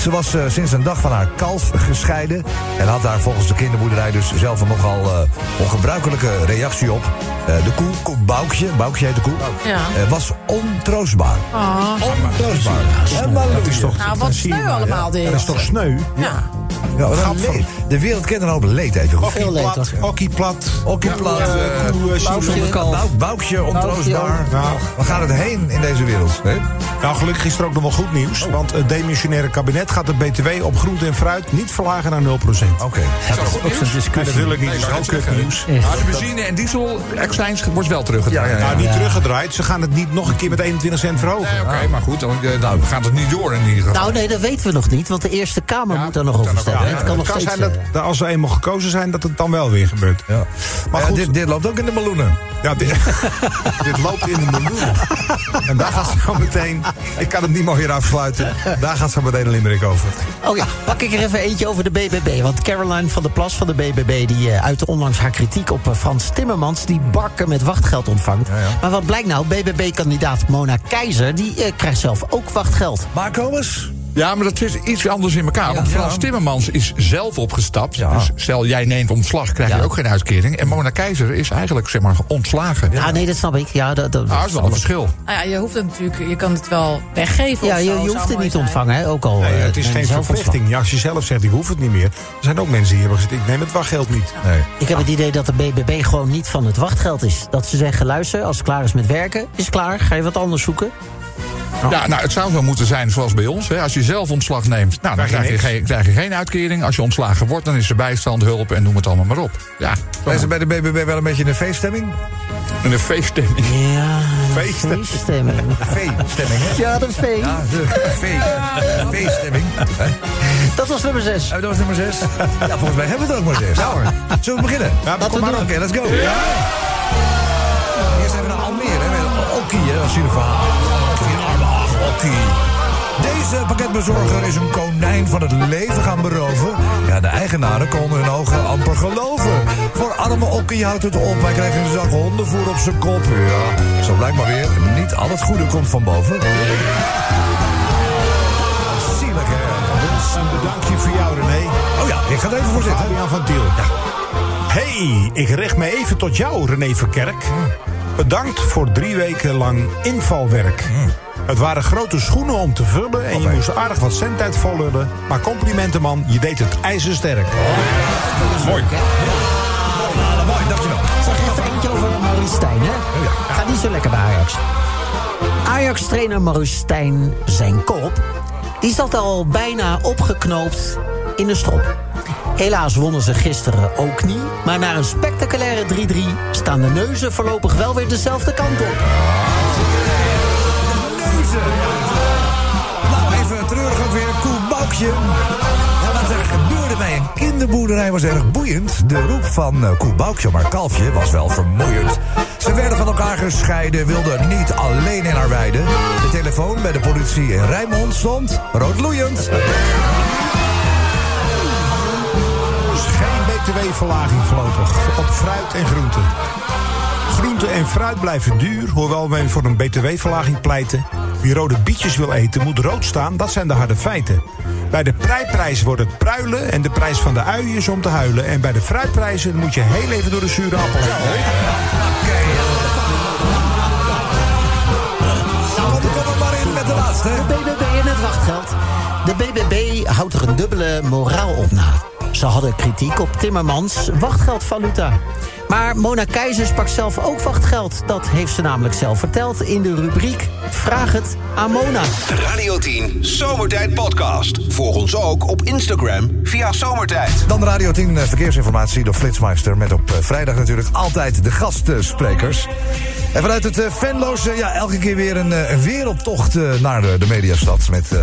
Ze was eh, sinds een dag van haar kalf gescheiden. En had daar volgens de kinderboerderij dus zelf een nogal eh, ongebruikelijke reactie op. Eh, de koe, koe Boukje, Boukje heet de koe,
Ja.
eh, was ontroostbaar.
Oh.
Ontroostbaar. Helemaal
Dat is toch-
Nou, wat sneu allemaal dit.
Dat is toch sneu?
Ja.
Ja, wat een leed. De wereld kent een hoop leed even goed.
Okkie plat, okkie plat.
Okkie plat.
Ja,
eh,
koe, eh,
Boukje,
zonder kalf.
Bouk- Boukje, ontroostbaar. Nou,
Boukje, ook.
Waar gaat het heen in deze wereld? Hè?
Nou, gelukkig is er ook nog wel goed nieuws. Want het demissionaire kabinet gaat de BTW op groente en fruit niet verlagen naar 0%. Oké.
Oké.
Maar dat wil ik niet, dat is ook kut nieuws.
Maar de benzine- en diesel-accijns wordt wel teruggedraaid.
Nou, niet teruggedraaid. Ze gaan het niet nog een keer met 21 cent verhogen.
Oké, maar goed, dan, eh, nou, we gaan het niet door in ieder geval.
Nou nee, dat weten we nog niet, want de Eerste Kamer moet daar nog over stemmen.
Ja,
het kan nog steeds...
zijn dat, dat als ze eenmaal gekozen zijn, dat het dan wel weer gebeurt. Maar goed, dit,
loopt ook in de meloenen.
Ja, dit, *laughs* dit loopt in de
*laughs*
meloenen. En daar gaat zo meteen... Ik kan het niet mooier afsluiten. Daar gaat zo meteen een limerick over.
eh, oh ja, pak ik er even eentje over de BBB. Want Caroline van der Plas van de BBB... die eh, uitte onlangs haar kritiek op eh, Frans Timmermans... die bakken met wachtgeld ontvangt. Maar wat blijkt nou? BBB-kandidaat Mona Keizer... die eh, krijgt zelf ook wachtgeld.
Maar Kobus?
Ja, maar dat is iets anders in elkaar. Want Frans Timmermans is zelf opgestapt. Dus stel, jij neemt ontslag, krijg je ook geen uitkering. En Mona Keizer is eigenlijk, zeg maar, ontslagen.
Ja, Ah, nee, dat snap ik. Ja, dat, dat,
Ah, dat is wel een verschil.
Nou ja, je hoeft het natuurlijk, je kan het wel weggeven.
Ja,
of
je,
zo,
je
zou
hoeft het
mooi
niet te
zijn.
ontvangen, hè? ook al...
Nee,
eh,
het is
neem
geen
je zelf ontslag.
verplichting. Ja, als je zelf zegt, ik hoef het niet meer. Er zijn ook mensen die hebben gezegd, ik neem het wachtgeld niet.
Ik heb het idee dat de BBB gewoon niet van het wachtgeld is. Dat ze zeggen, luister, als het klaar is met werken, is het klaar. Ga je wat anders zoeken.
Ja, nou, het zou zo moeten zijn zoals bij ons. Hè. Als je zelf ontslag neemt, nou, dan
Krijg
krijg
je
je,
niks.
geen, krijg je geen uitkering. Als je ontslagen wordt, dan is er bijstand, hulp en noem het allemaal maar op. Ja,
Zijn ze bij de BBB wel een beetje in een feeststemming?
in een feeststemming.
Ja,
Feeststemming.
*laughs*
feeststemming.
Feeststemming, hè?
Ja, de vee.
Ja, de
*laughs*
fe- feeststemming. Hè?
Dat was nummer 6.
Eh, Dat was nummer 6. *laughs* Ja, volgens mij hebben we het ook maar 6. Nou hoor. Zullen we beginnen? Ja,
Laten we
kom maar op.
doen.
Oké, let's go. Eerst even naar Almere. hè, met Okkie, hè, als je verhaal. Okkie, arme ach, Okkie. Deze pakketbezorger is een konijn van het leven gaan beroven. Ja, de eigenaren konden hun ogen amper geloven. Voor arme Okkie houdt het op. Hij krijgt een zak hondenvoer op zijn kop. Ja, zo blijkt maar weer. Niet al het goede komt van boven. Zielig, hè?
Dus een bedankje voor jou, René.
Oh ja, ik ga er even voor zitten.
Adriaan van Tiel. Hey, ik richt me even tot jou, René Verkerk. Bedankt voor drie weken lang invalwerk. Het waren grote schoenen om te vullen en je moest aardig wat cent uit vollullen. Maar complimenten, man, je deed het ijzersterk.
Mooi.
Ah, mooi, dankjewel.
Zag je even eentje over Maurice Stijn, hè? Gaat niet zo lekker bij Ajax. Ajax-trainer Maurice Stijn, zijn kop... die zat al bijna opgeknoopt in de strop. Helaas wonnen ze gisteren ook niet... maar na een spectaculaire 3-3 staan de neuzen voorlopig wel weer dezelfde kant op.
Neuzen. Nou, even treurig ook weer een koel boukje. Ja, wat er gebeurde bij een kinderboerderij was erg boeiend. De roep van eh, koe boukje maar kalfje was wel vermoeiend. Ze werden van elkaar gescheiden, wilden niet alleen in haar weide. De telefoon bij de politie in Rijnmond stond roodloeiend.
Dus geen btw-verlaging voorlopig op fruit en groente. Groente en fruit blijven duur, hoewel wij voor een btw-verlaging pleiten. Wie rode bietjes wil eten, moet rood staan, dat zijn de harde feiten. Bij de prijprijs wordt het pruilen en de prijs van de uien is om te huilen. En bij de fruitprijzen moet je heel even door de zure appel heen.
Nou, kom er maar in met de laatste.
De BBB en het wachtgeld. De BBB houdt er een dubbele moraal op na. Ze hadden kritiek op Timmermans wachtgeldvaluta. Maar Mona Keizers pakt zelf ook wachtgeld. Dat heeft ze namelijk zelf verteld in de rubriek Vraag het aan Mona.
Radio 10 Zomertijd Podcast. Volg ons ook op Instagram via Zomertijd.
Dan de Radio 10 verkeersinformatie door Flitsmeister. Met op eh, vrijdag natuurlijk altijd de gastsprekers. En vanuit het eh, Venlo's, eh, ja, elke keer weer een, eh, een wereldtocht eh, naar de, de mediastad. Met eh,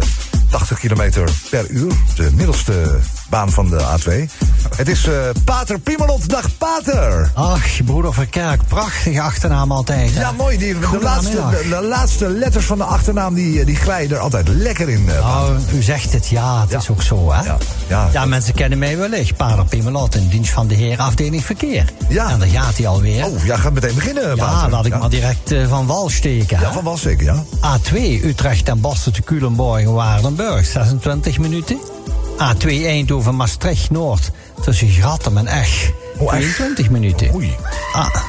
80 kilometer per uur. De middelste baan van de A2. Het is eh, Pater Pimelot. Dag
Oh.
Pater.
Ach, broeder van Kerk, prachtige achternaam altijd.
Ja, mooi. Die, de, laatste,
Goedemiddag.
de, de laatste letters van de achternaam die, eh, die glijden er altijd lekker in. eh,
Nou, u zegt het, ja, het is ook zo, hè? Ja,
ja.
mensen kennen mij wellicht. Pater Pimelot in dienst van de heer afdeling verkeer. Ja. En daar gaat hij alweer.
Oh, ja, gaat meteen beginnen,
Ja,
Pater.
laat ik
Ja.
maar direct eh, van wal steken.
Ja, van was ik, ja.
A2 Utrecht en Bossen te Culemborg Waardenburg, 26 minuten. A2 Eindhoven Maastricht Noord tussen Grattem en Esch, 22 minuten.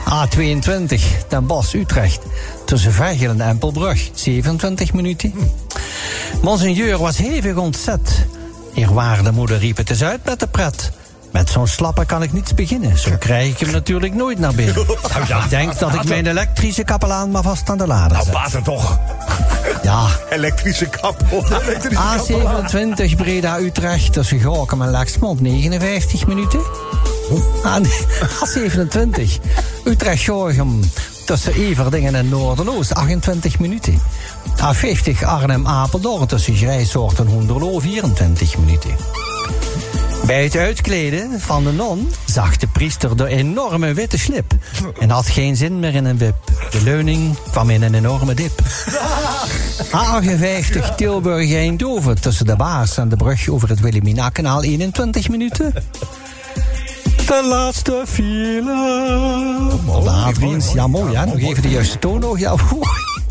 A, 22 Den Bosch Utrecht tussen Vergel en Empelbrug, 27 minuten. Monseigneur was hevig ontzet. Eerwaarde moeder riep het eens uit met de pret. Met zo'n slapper kan ik niets beginnen.
*laughs*
Zo krijg ik hem natuurlijk nooit naar binnen. Ik denk dat ik mijn elektrische kapelaan maar vast aan de lader
Nou.
zet.
Pater toch.
Ja.
Elektrische kappel. Elektrische kappel.
A27 Breda Utrecht tussen Gorkum en Laaksmond 59 minuten. A- *laughs* A27 Ah, Utrecht Gorkum tussen Everdingen en Noorderloos 28 minuten. A50 Arnhem Apeldoorn tussen Grijshoort en Hoenderloo 24 minuten. Bij het uitkleden van de non zag de priester de enorme witte slip. En had geen zin meer in een wip. De leuning kwam in een enorme *laughs* dip. A58 Tilburg Eindhoven tussen de Baars en de brug over het Wilhelmina-kanaal 21 minuten. De laatste file. Op de A23. Ja, mooi hè. Nog even de juiste toon nog. Ja, oeh.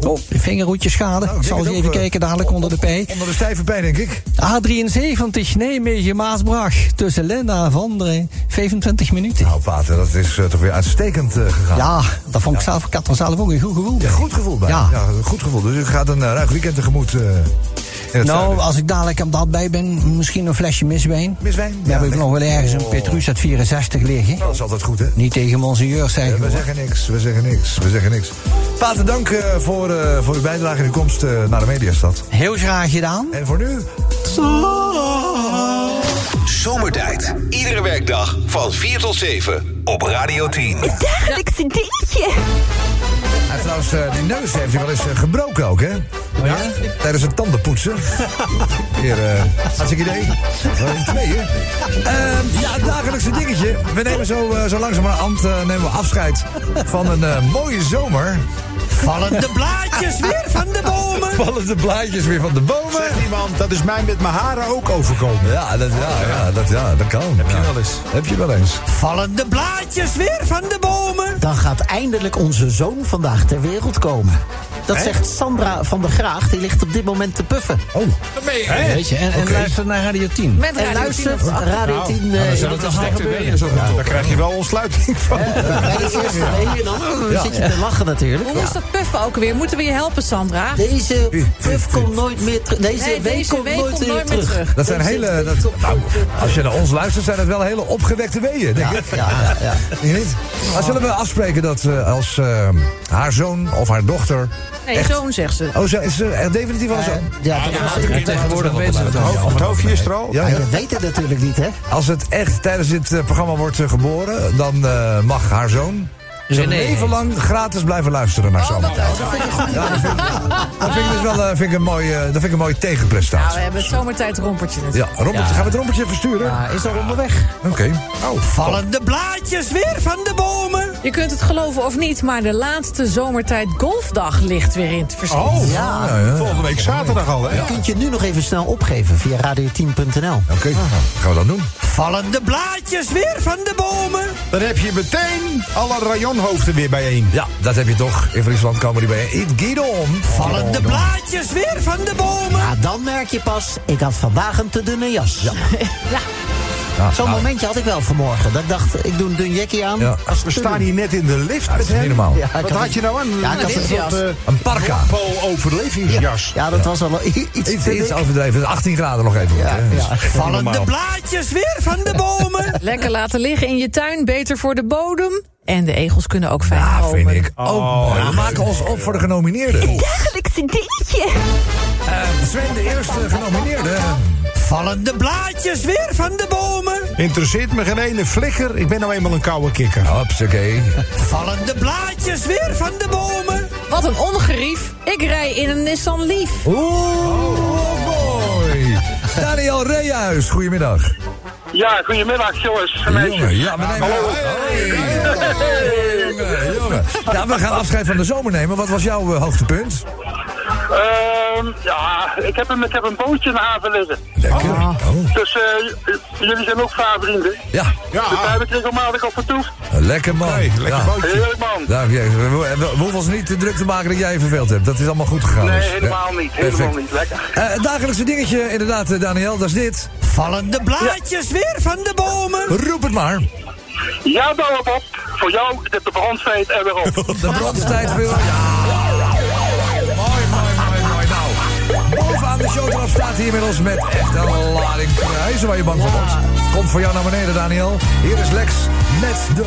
Oh, de vingerhoedjes schade. ik zal eens even kijken dadelijk onder de pij.
Onder de stijve pijn, denk ik.
A73 Nijmegen Maasbracht tussen Linda en Vanderen 25 minuten.
Nou, Pater, dat is eh, toch weer uitstekend eh, gegaan.
Ja, dat vond ik zelf, ik had er zelf ook een goed gevoel bij.
Goed gevoel bij. Ja.
Ja.
een goed gevoel. Dus u gaat een eh, ruig weekend tegemoet. eh, in het
Nou,
zuiden.
als ik dadelijk aan dat bij ben, misschien een flesje miswijn.
Miswijn?
Dan heb ik nog wel ergens een Petrus uit 64 liggen.
Oh. dat is altijd goed, hè?
Niet tegen monseigneur zeggen.
We
hoor.
zeggen niks, we zeggen niks, we zeggen niks. Pater, dank eh, voor, eh, voor uw bijdrage en uw komst eh, naar de Mediastad.
Heel graag gedaan.
En voor nu?
Zomertijd. Iedere werkdag van 4 tot 7 op Radio 10.
Dagelijkse dingetje.
En trouwens, eh, die neus heeft hij wel eens eh, gebroken ook, hè? ja? Tijdens het tandenpoetsen. Hier, eh hartstikke idee. Wel in twee, hè? Ehm, ja, het dagelijkse dingetje. We nemen zo, eh zo langzamerhand eh, nemen we afscheid van een eh, mooie zomer.
Vallen de blaadjes weer van de bomen.
Vallen de blaadjes weer van de bomen.
Zegt iemand, dat is mij met mijn haren ook overkomen.
Ja, dat, ja, ja, dat, ja, dat kan. Heb je wel eens. Heb je wel eens.
Vallen de blaadjes weer van de bomen.
Dan gaat eindelijk onze zoon vandaag ter wereld komen. Dat zegt Sandra van der Graag. Die ligt op dit moment te puffen.
Oh.
Weet je, en, en luister naar Radio 10.
Met
En
Radio 10
luistert
op-
Radio 10... eh, in de haar gebeuren.
Daar krijg je wel ontsluiting van.
Bij de eerste reden dan
Ja.
zit je te lachen natuurlijk.
Hoe is dat puffen ook weer? Moeten we je helpen, Sandra?
Deze puff komt nooit meer terug. Deze
Nee,
week
deze
komt
week
nooit
komt
meer
nooit meer
terug.
terug.
Dat zijn hele. Dat, nou, als je naar ons luistert, zijn dat wel hele opgewekte weeën, denk ik. Ja, ja, *laughs* Niet? Maar zullen we afspreken dat eh, als eh, haar zoon of haar dochter.
Nee,
echt-
zoon zegt ze.
Oh, ze- is ze echt definitief al zo?
Ja, dat was het.
tegenwoordig weten ze het al.
Of het hoofdje is er al.
Ja,
Je weet het natuurlijk niet, hè?
Als het echt tijdens dit eh, programma wordt eh, geboren, dan eh, mag haar zoon zijn
René.
leven lang gratis blijven luisteren naar Sam. Dat vind ik dus wel eh, vind ik een mooie, dat vind ik een mooie
Nou, we
tegenprestatie.
hebben het zomertijd rompertje
Ja,
natuurlijk.
rompertje. Gaan we het rompertje versturen?
is al onderweg.
Oké. Oh,
Vallen de blaadjes weer van de bomen.
Je kunt het geloven of niet, maar de laatste zomertijd golfdag ligt weer in het verschiet.
Oh,
Ja.
volgende week zaterdag al, hè?
Je kunt je nu nog even snel opgeven via radio10.nl.
Oké, nou, gaan we dat doen?
Vallen de blaadjes weer van de bomen.
Dan heb je meteen alle rajonhoofden weer bijeen.
Ja, dat heb je toch. In Friesland komen die bij. Eat Guidon.
Vallen de blaadjes weer van de bomen.
Ja, Ah, dan merk je pas, ik had vandaag een te dunne jas.
Ja,
Zo'n
nou,
momentje had ik wel vanmorgen. Dat ik dacht, ik doe een dun jackie aan.
Ja.
Als
We staan hier net in de lift
dat
met
is niet
hem.
normaal.
Ja, ik
Wat
had
had
een-
je nou aan?
Ja, ik had een soort, eh,
Een parka.
overlevingsjas.
Ja, dat was wel i- iets
Iets,
te
iets
dik.
overdreven. 18 graden nog even.
Ja,
hè. Dus-
ja.
Vallen de blaadjes weer van de bomen.
Lekker laten liggen in je tuin, beter voor de bodem. En de egels kunnen ook fijn
Ah,
Oh,
komen.
vind ik. ook mooi. we maken ons op voor de genomineerden.
Dagelijkse dingetje.
Sven, de eerste genomineerde.
Vallen de blaadjes weer van de bomen.
Interesseert me geen ene flikker. Ik ben nou eenmaal een koude kikker.
Hopsakee.
Vallen de blaadjes weer van de bomen.
Wat een ongerief. Ik rij in een Nissan Leaf.
Oeh, mooi. Daniel Reehuis, goedemiddag.
Ja, goedemiddag jongens.
Jongen, ja, we nemen... Hallo. Jongen, jongen. Ja, we gaan afscheid van de zomer nemen. Wat was jouw eh, hoogtepunt?
Ehm, ja, ik heb, een, ik heb een bootje in de haven liggen.
Lekker. Oh,
Dus eh, j- jullie zijn ook vaarvrienden.
Ja.
ja. Dus daar heb ik regelmatig op vertoefd.
Lekker man.
lekker bootje. Heerlijk, man.
Nou, ja, we, we- we hoeven ons niet te druk te maken dat jij je verveeld hebt. Dat is allemaal goed gegaan.
Nee,
dus.
helemaal
Ja,
niet.
perfect.
Helemaal niet. Lekker.
Eh, het dagelijkse dingetje, inderdaad, eh, Daniel, dat is dit. Vallen de
blaadjes
weer van de bomen. Roep het maar.
Ja, bouw op op. Voor jou de, de bronstijd er weer op.
De bronstijd weer Mooi, mooi, mooi, mooi. Nou, bovenaan de showtrap staat hij inmiddels met echt een lading prijzen waar je bang voor wordt. Komt voor jou naar beneden, Daniel. Hier is Lex met de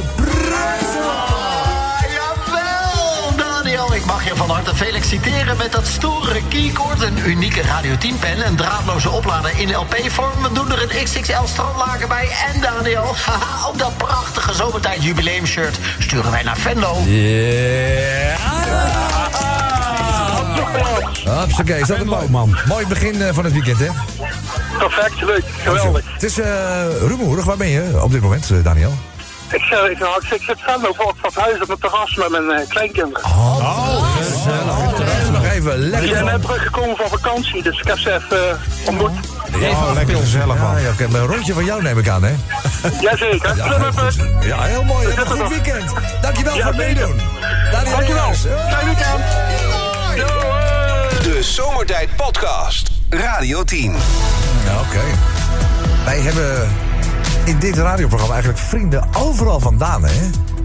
Jawel, Daniel, ik mag je van harte feliciteren met dat stoere keycord, een unieke Radio 10 pen, een draadloze oplader in LP-vorm. We doen er een XXL strandlaken bij en Daniel, *laughs* haha, ook dat prachtige zomertijd jubileumshirt sturen wij naar Venlo.
Hupsakee, is dat een mooi man. Mooi begin eh, van het weekend, hè?
Perfect, leuk. Geweldig.
Het is eh rumoerig. Waar ben je op dit moment, eh, Daniel?
Ik, eh, ik, ik, ik zit zelf ook van het huis op het terras met mijn eh, kleinkinderen. oh,
Oh, gezellig. nog even lekker
We zijn
van-
net teruggekomen van vakantie, dus ik heb ze even eh, ontmoet.
oh, lekker gezellig, man. Ja, ja, oké, maar een rondje van jou neem ik aan, hè?
Jazeker.
Ja, heel goed. Ja, heel mooi. Een goed weekend. Dankjewel voor het meedoen. Daniel
Dankjewel.
Rijks.
Fijn weekend.
De Zomertijd Podcast. Radio 10.
Ja, oké. Wij hebben in dit radioprogramma eigenlijk vrienden overal vandaan, hè?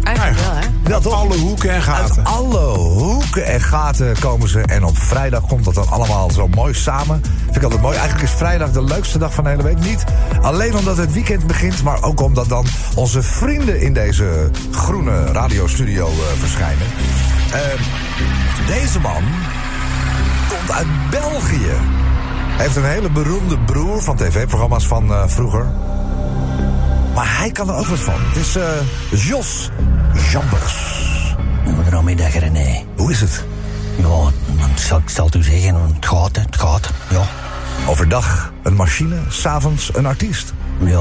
Eigenlijk wel, hè?
Dat toch?
alle hoeken en gaten.
Uit alle hoeken en gaten komen ze. En op vrijdag komt dat dan allemaal zo mooi samen. Vind ik altijd mooi. Eigenlijk is vrijdag de leukste dag van de hele week. Niet alleen omdat het weekend begint, maar ook omdat dan onze vrienden in deze groene radiostudio eh, verschijnen. Eh, deze man komt uit België. Hij heeft een hele beroemde broer van tv-programma's van eh, vroeger. Maar hij kan er ook wat van. Het is eh, Jos Jambers.
Goedemiddag René.
Hoe is het?
Ja, ik zal, ik zal het u zeggen, het gaat, het gaat, ja.
Overdag een machine, s'avonds een artiest.
Ja,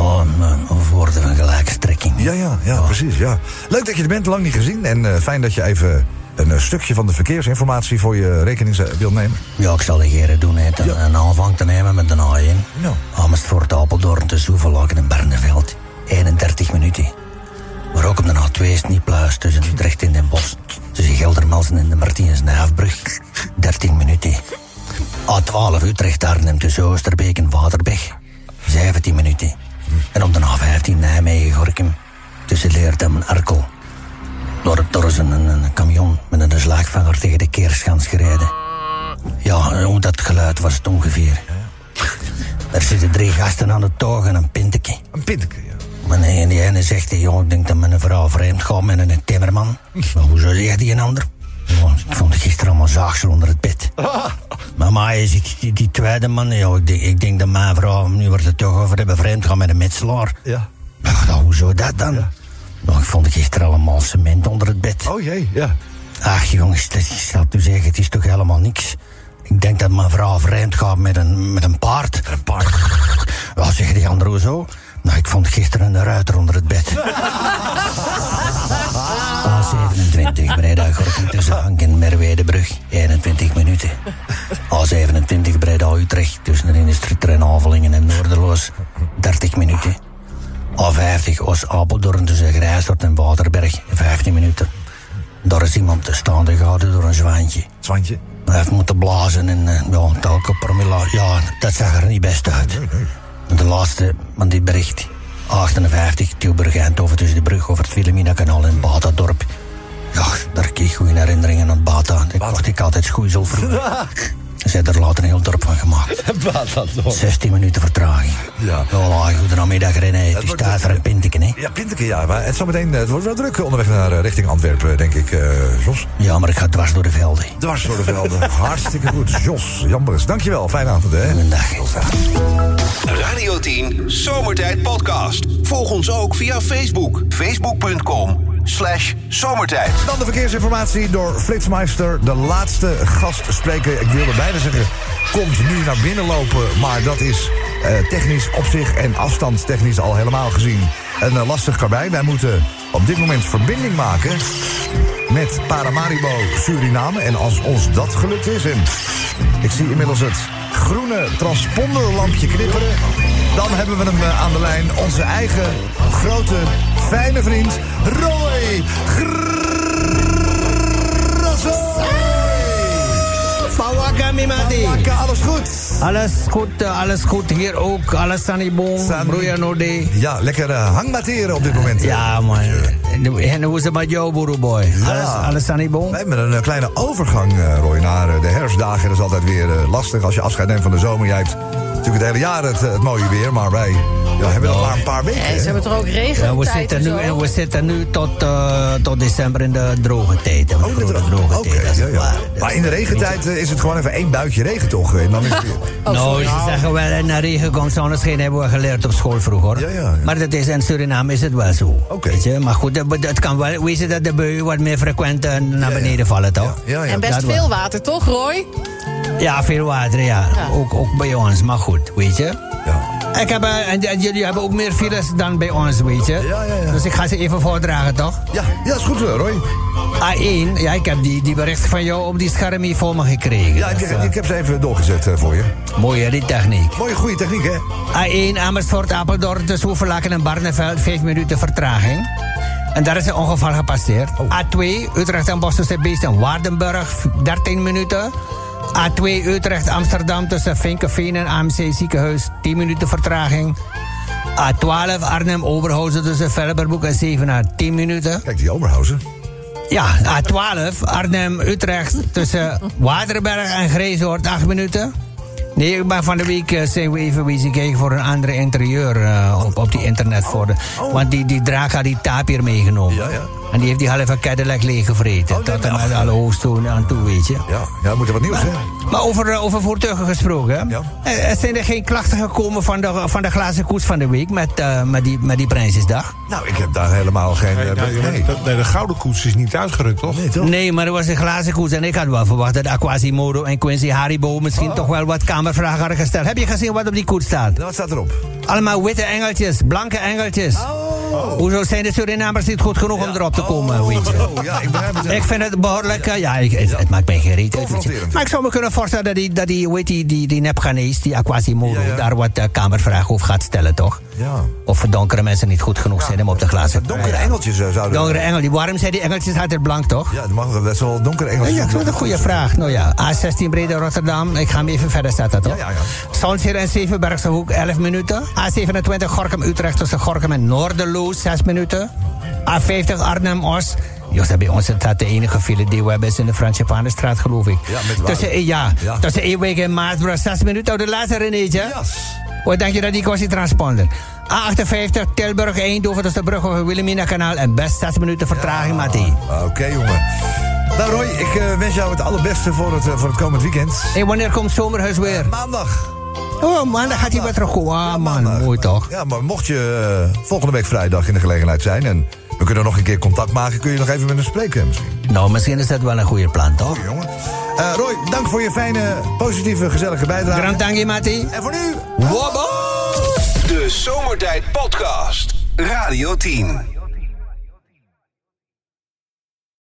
een woorden van gelijkstrekking.
Ja, ja, ja, precies. Ja. Leuk dat je er bent, lang niet gezien. En eh, fijn dat je even een eh, stukje van de verkeersinformatie voor je rekening z- wilt nemen.
Ja, ik zal de heren doen, hè, ten- een aanvang te nemen met een haai in.
Ja.
Amersfoort, Apeldoorn, te Soevelaken en Barneveld. 31 minuten. Maar ook op de A2 is het niet pluis tussen Utrecht en Den Bosch. Tussen Geldermalsen en de martinus nijfbrug 13 minuten. A12 Utrecht Arnhem tussen Oosterbeek en Waterberg. 17 minuten. En op de A15 Nijmegen Gorkum tussen Leerdam en Arkel. Door, door is een, een, een camion met een slaagvanger tegen de keerschans gereden. Ja, hoe dat geluid was het ongeveer. Er zitten drie gasten aan de toog en een pinteke.
Een pinteke, ja.
Maar nee, en die ene zegt, joh, ik denk dat mijn vrouw vreemd gaat met een timmerman. Maar hoezo zegt die een ander? "Ja, ik vond gisteren allemaal zaagsel onder het bed. Maar mij is het- die, die tweede man, joh, ik, denk, ik denk dat mijn vrouw, nu wordt het toch over hebben, vreemd gaat met een metselaar.
Ja.
Nou, hoezo dat dan? Nou, ik vond gisteren allemaal cement onder het bed.
Oh jee, ja.
Ach jongens, dat is dat te zeggen, het is toch helemaal niks. Ik denk dat mijn vrouw vreemd gaat met een, met een paard. Een paard. Ja, zeggen die anderen hoezo? Nou, ik vond gisteren een ruiter onder het bed. *laughs* Ah, A27, Breda, Gorkum tussen Hank en Merwedebrug, 21 minuten. A27, Breda, Utrecht tussen de industrietrein Avelingen en Noorderloos, 30 minuten. A50, Oost-Apeldoorn tussen Grijsdorp en Waterberg, 15 minuten. Daar is iemand staande gehouden door een zwaantje.
Zwaantje?
Hij heeft moeten blazen en eh, ja, telke promilla. Ja, dat zag er niet best uit. De laatste van dit bericht. 58, Tilburg Eindhoven tussen de brug over het Wilhelmina-kanaal in Batadorp. Ja, daar kreeg ik goede herinneringen aan Bata. Ik kocht ik altijd schoeisel vroeger. Ze hebben er later een heel dorp van gemaakt. 16 minuten vertraging.
Ja.
Hola, goedemiddag René. Het is tijd voor een pinteken, hè?
Ja, pinteke, ja. Maar het, zometeen, eh, het wordt wel druk onderweg naar eh, richting Antwerpen, denk ik, eh, Jos.
Ja, maar ik ga dwars door de velden.
Dwars door de velden. *laughs* Hartstikke goed. Jos Jambers, dankjewel. Fijne avond, hè.
Goedendag.
Radio 10 Zomertijd Podcast. Volg ons ook via Facebook. Facebook.com slash zomertijd.
Dan de verkeersinformatie door Flitsmeister. De laatste gastspreker, ik wilde bijna zeggen, komt nu naar binnen lopen. Maar dat is eh, technisch op zich en afstandstechnisch al helemaal gezien een eh, lastig karwei. Wij moeten op dit moment verbinding maken met Paramaribo Suriname. En als ons dat gelukt is, en ik zie inmiddels het groene transponderlampje knipperen... dan hebben we hem eh, aan de lijn, onze eigen grote, fijne vriend Roy Grasso.
Fawaka Mimati.
Fawaka, alles goed?
Alles goed, eh, alles goed. Hier ook. Alles Sanibong, Broeien Ode.
Ja, lekker eh, hangmateren op dit moment.
Ah,
Ja, man. En hoe is het met jou, boerenboy? Alles, alles aan die boom?
We hebben een eh, kleine overgang, eh, Roy, naar eh, de herfstdagen. Dat is altijd weer eh, lastig als je afscheid neemt van de zomer. Jij hebt natuurlijk het hele jaar het, eh, het mooie weer, maar wij ja, hebben nog maar een paar weken.
Ja, ze
hè?
hebben er ook regen.
Ja, we, zitten nu, en we zitten nu tot, eh, tot december in de droge tijd. Oh, de droge, droge tijd. als het ware. Dus
Maar in de regentijd eh, is het gewoon even één buitje regen, toch? En dan is het weer...
nou, ze zeggen wel, eh, naar regen komt zonneschijn, hebben we geleerd op school vroeger. Maar dat is, in Suriname is het wel zo. Weet je? Maar goed, het, het kan wel wezen dat de buien wat meer frequent eh, naar beneden vallen, toch?
En best
Dat wel.
veel water, toch, Roy?
Ja, veel water, ja. Ook, ook bij ons, maar goed, weet je. Ik heb, eh, en, en jullie hebben ook meer files dan bij ons, weet je. Dus ik ga ze even voordragen, toch?
Ja, ja is goed, eh, Roy.
A1, ja, ik heb die, die bericht van jou op die scherm hier voor me gekregen.
Ja, ik,
Dus, eh,
ik heb ze even doorgezet eh, voor je.
Mooi, hè, die techniek.
Mooie, goede techniek, hè?
A1 Amersfoort, Apeldoorn tussen Hoevelaken en Barneveld. 5 minuten vertraging. En daar is een ongeval gepasseerd. A2 Utrecht en Bosselse Beest en Waardenburg. 13 minuten. A2 Utrecht Amsterdam tussen Vinkenveen en AMC ziekenhuis. 10 minuten vertraging. A12 Arnhem Oberhausen tussen Velberboek en Zevenaar. 10 minuten.
Kijk, die Oberhausen.
Ja, eh, A12, Arnhem-Utrecht tussen Waterberg en Greeshoort, 8 minuten. Nee, maar van de week eh, zijn we even bezig kijken voor een andere interieur eh, op, op die internet. Voor de, want die, die draak had die taap hier meegenomen. En die heeft die halve Cadillac leeggevreten. tot en met alle hoofdstonen aan toe, weet je.
Ja, ja moet er wat nieuws, hè?
Maar over, eh, over voertuigen gesproken. hè? Eh, eh, zijn er geen klachten gekomen van de, van de glazen koets van de week met, eh, met, die, met die Prinsjesdag?
Nou, ik heb daar helemaal geen... eh,
nee,
nee.
dat- nee, de gouden koets is niet uitgerukt, toch?
Nee,
Nee, maar er was een glazen koets. En ik had wel verwacht dat Aquasimodo en Quincy Haribo misschien toch wel wat kamervragen hadden gesteld. Heb je gezien wat op die koets staat?
Nou, Wat staat erop?
Allemaal witte engeltjes, blanke engeltjes. Hoezo zijn de Surinamers niet goed genoeg om erop te komen? weet je?
Oh, Ja, ik begrijp het.
*laughs* Ik vind het behoorlijk. eh, Ja, ik, het, het maakt mij geen reet. uit, weet je. Maar ik zou me kunnen voorstellen dat die, dat die, weet die, die, die nepganees, die Aquasimodo, daar wat eh, kamervragen over gaat stellen, toch?
Ja.
Of donkere mensen niet goed genoeg zijn om op de glazen te
Donkere engeltjes eh, zouden...
Donkere engel, die- waarom zijn die engeltjes altijd blank, toch?
Ja, dat mag wel. Dat is wel donkere
Ja,
engeltjes.
ik vind het een goede vraag. Nou ja, A16 Brede Rotterdam. Ik ga hem even verder zetten, toch? Ja, en Zevenbergse Hoek, 11 minuten. A27 Gorkum Utrecht tussen Gorkum en Noorderloos, 6 minuten. A50 Arnhem Os. Jos, dat bij ons staat de enige file die we hebben is in de Fransjepanenstraat, geloof ik.
Ja, met waar-
tussen, ja,
Ja.
tussen Ewijk en Maasbrug, 6 minuten. Oh, de laatste Renéetje. Wat denk je dat die kost, die transponder? A58 Tilburg Eindhoven tussen Brug over Wilhelmina Kanaal. En best 6 minuten vertraging, Matti.
Oké, jongen. Nou, Roy, ik eh, wens jou het allerbeste voor het, eh, voor het komend weekend.
Hé, wanneer komt zomerhuis weer?
Maandag.
Oh, maandag gaat hij weer terug. Oh, ah, man, mooi toch?
Ja, maar mocht je eh, volgende week vrijdag in de gelegenheid zijn... en we kunnen nog een keer contact maken... kun je nog even met hem spreken misschien.
Nou, misschien is dat wel een goede plan, toch?
jongen. Eh, Roy, dank voor je fijne, positieve, gezellige bijdrage.
Grand dankje, Matti.
En voor nu...
Wobbo!
De Zomertijd Podcast. Radio 10.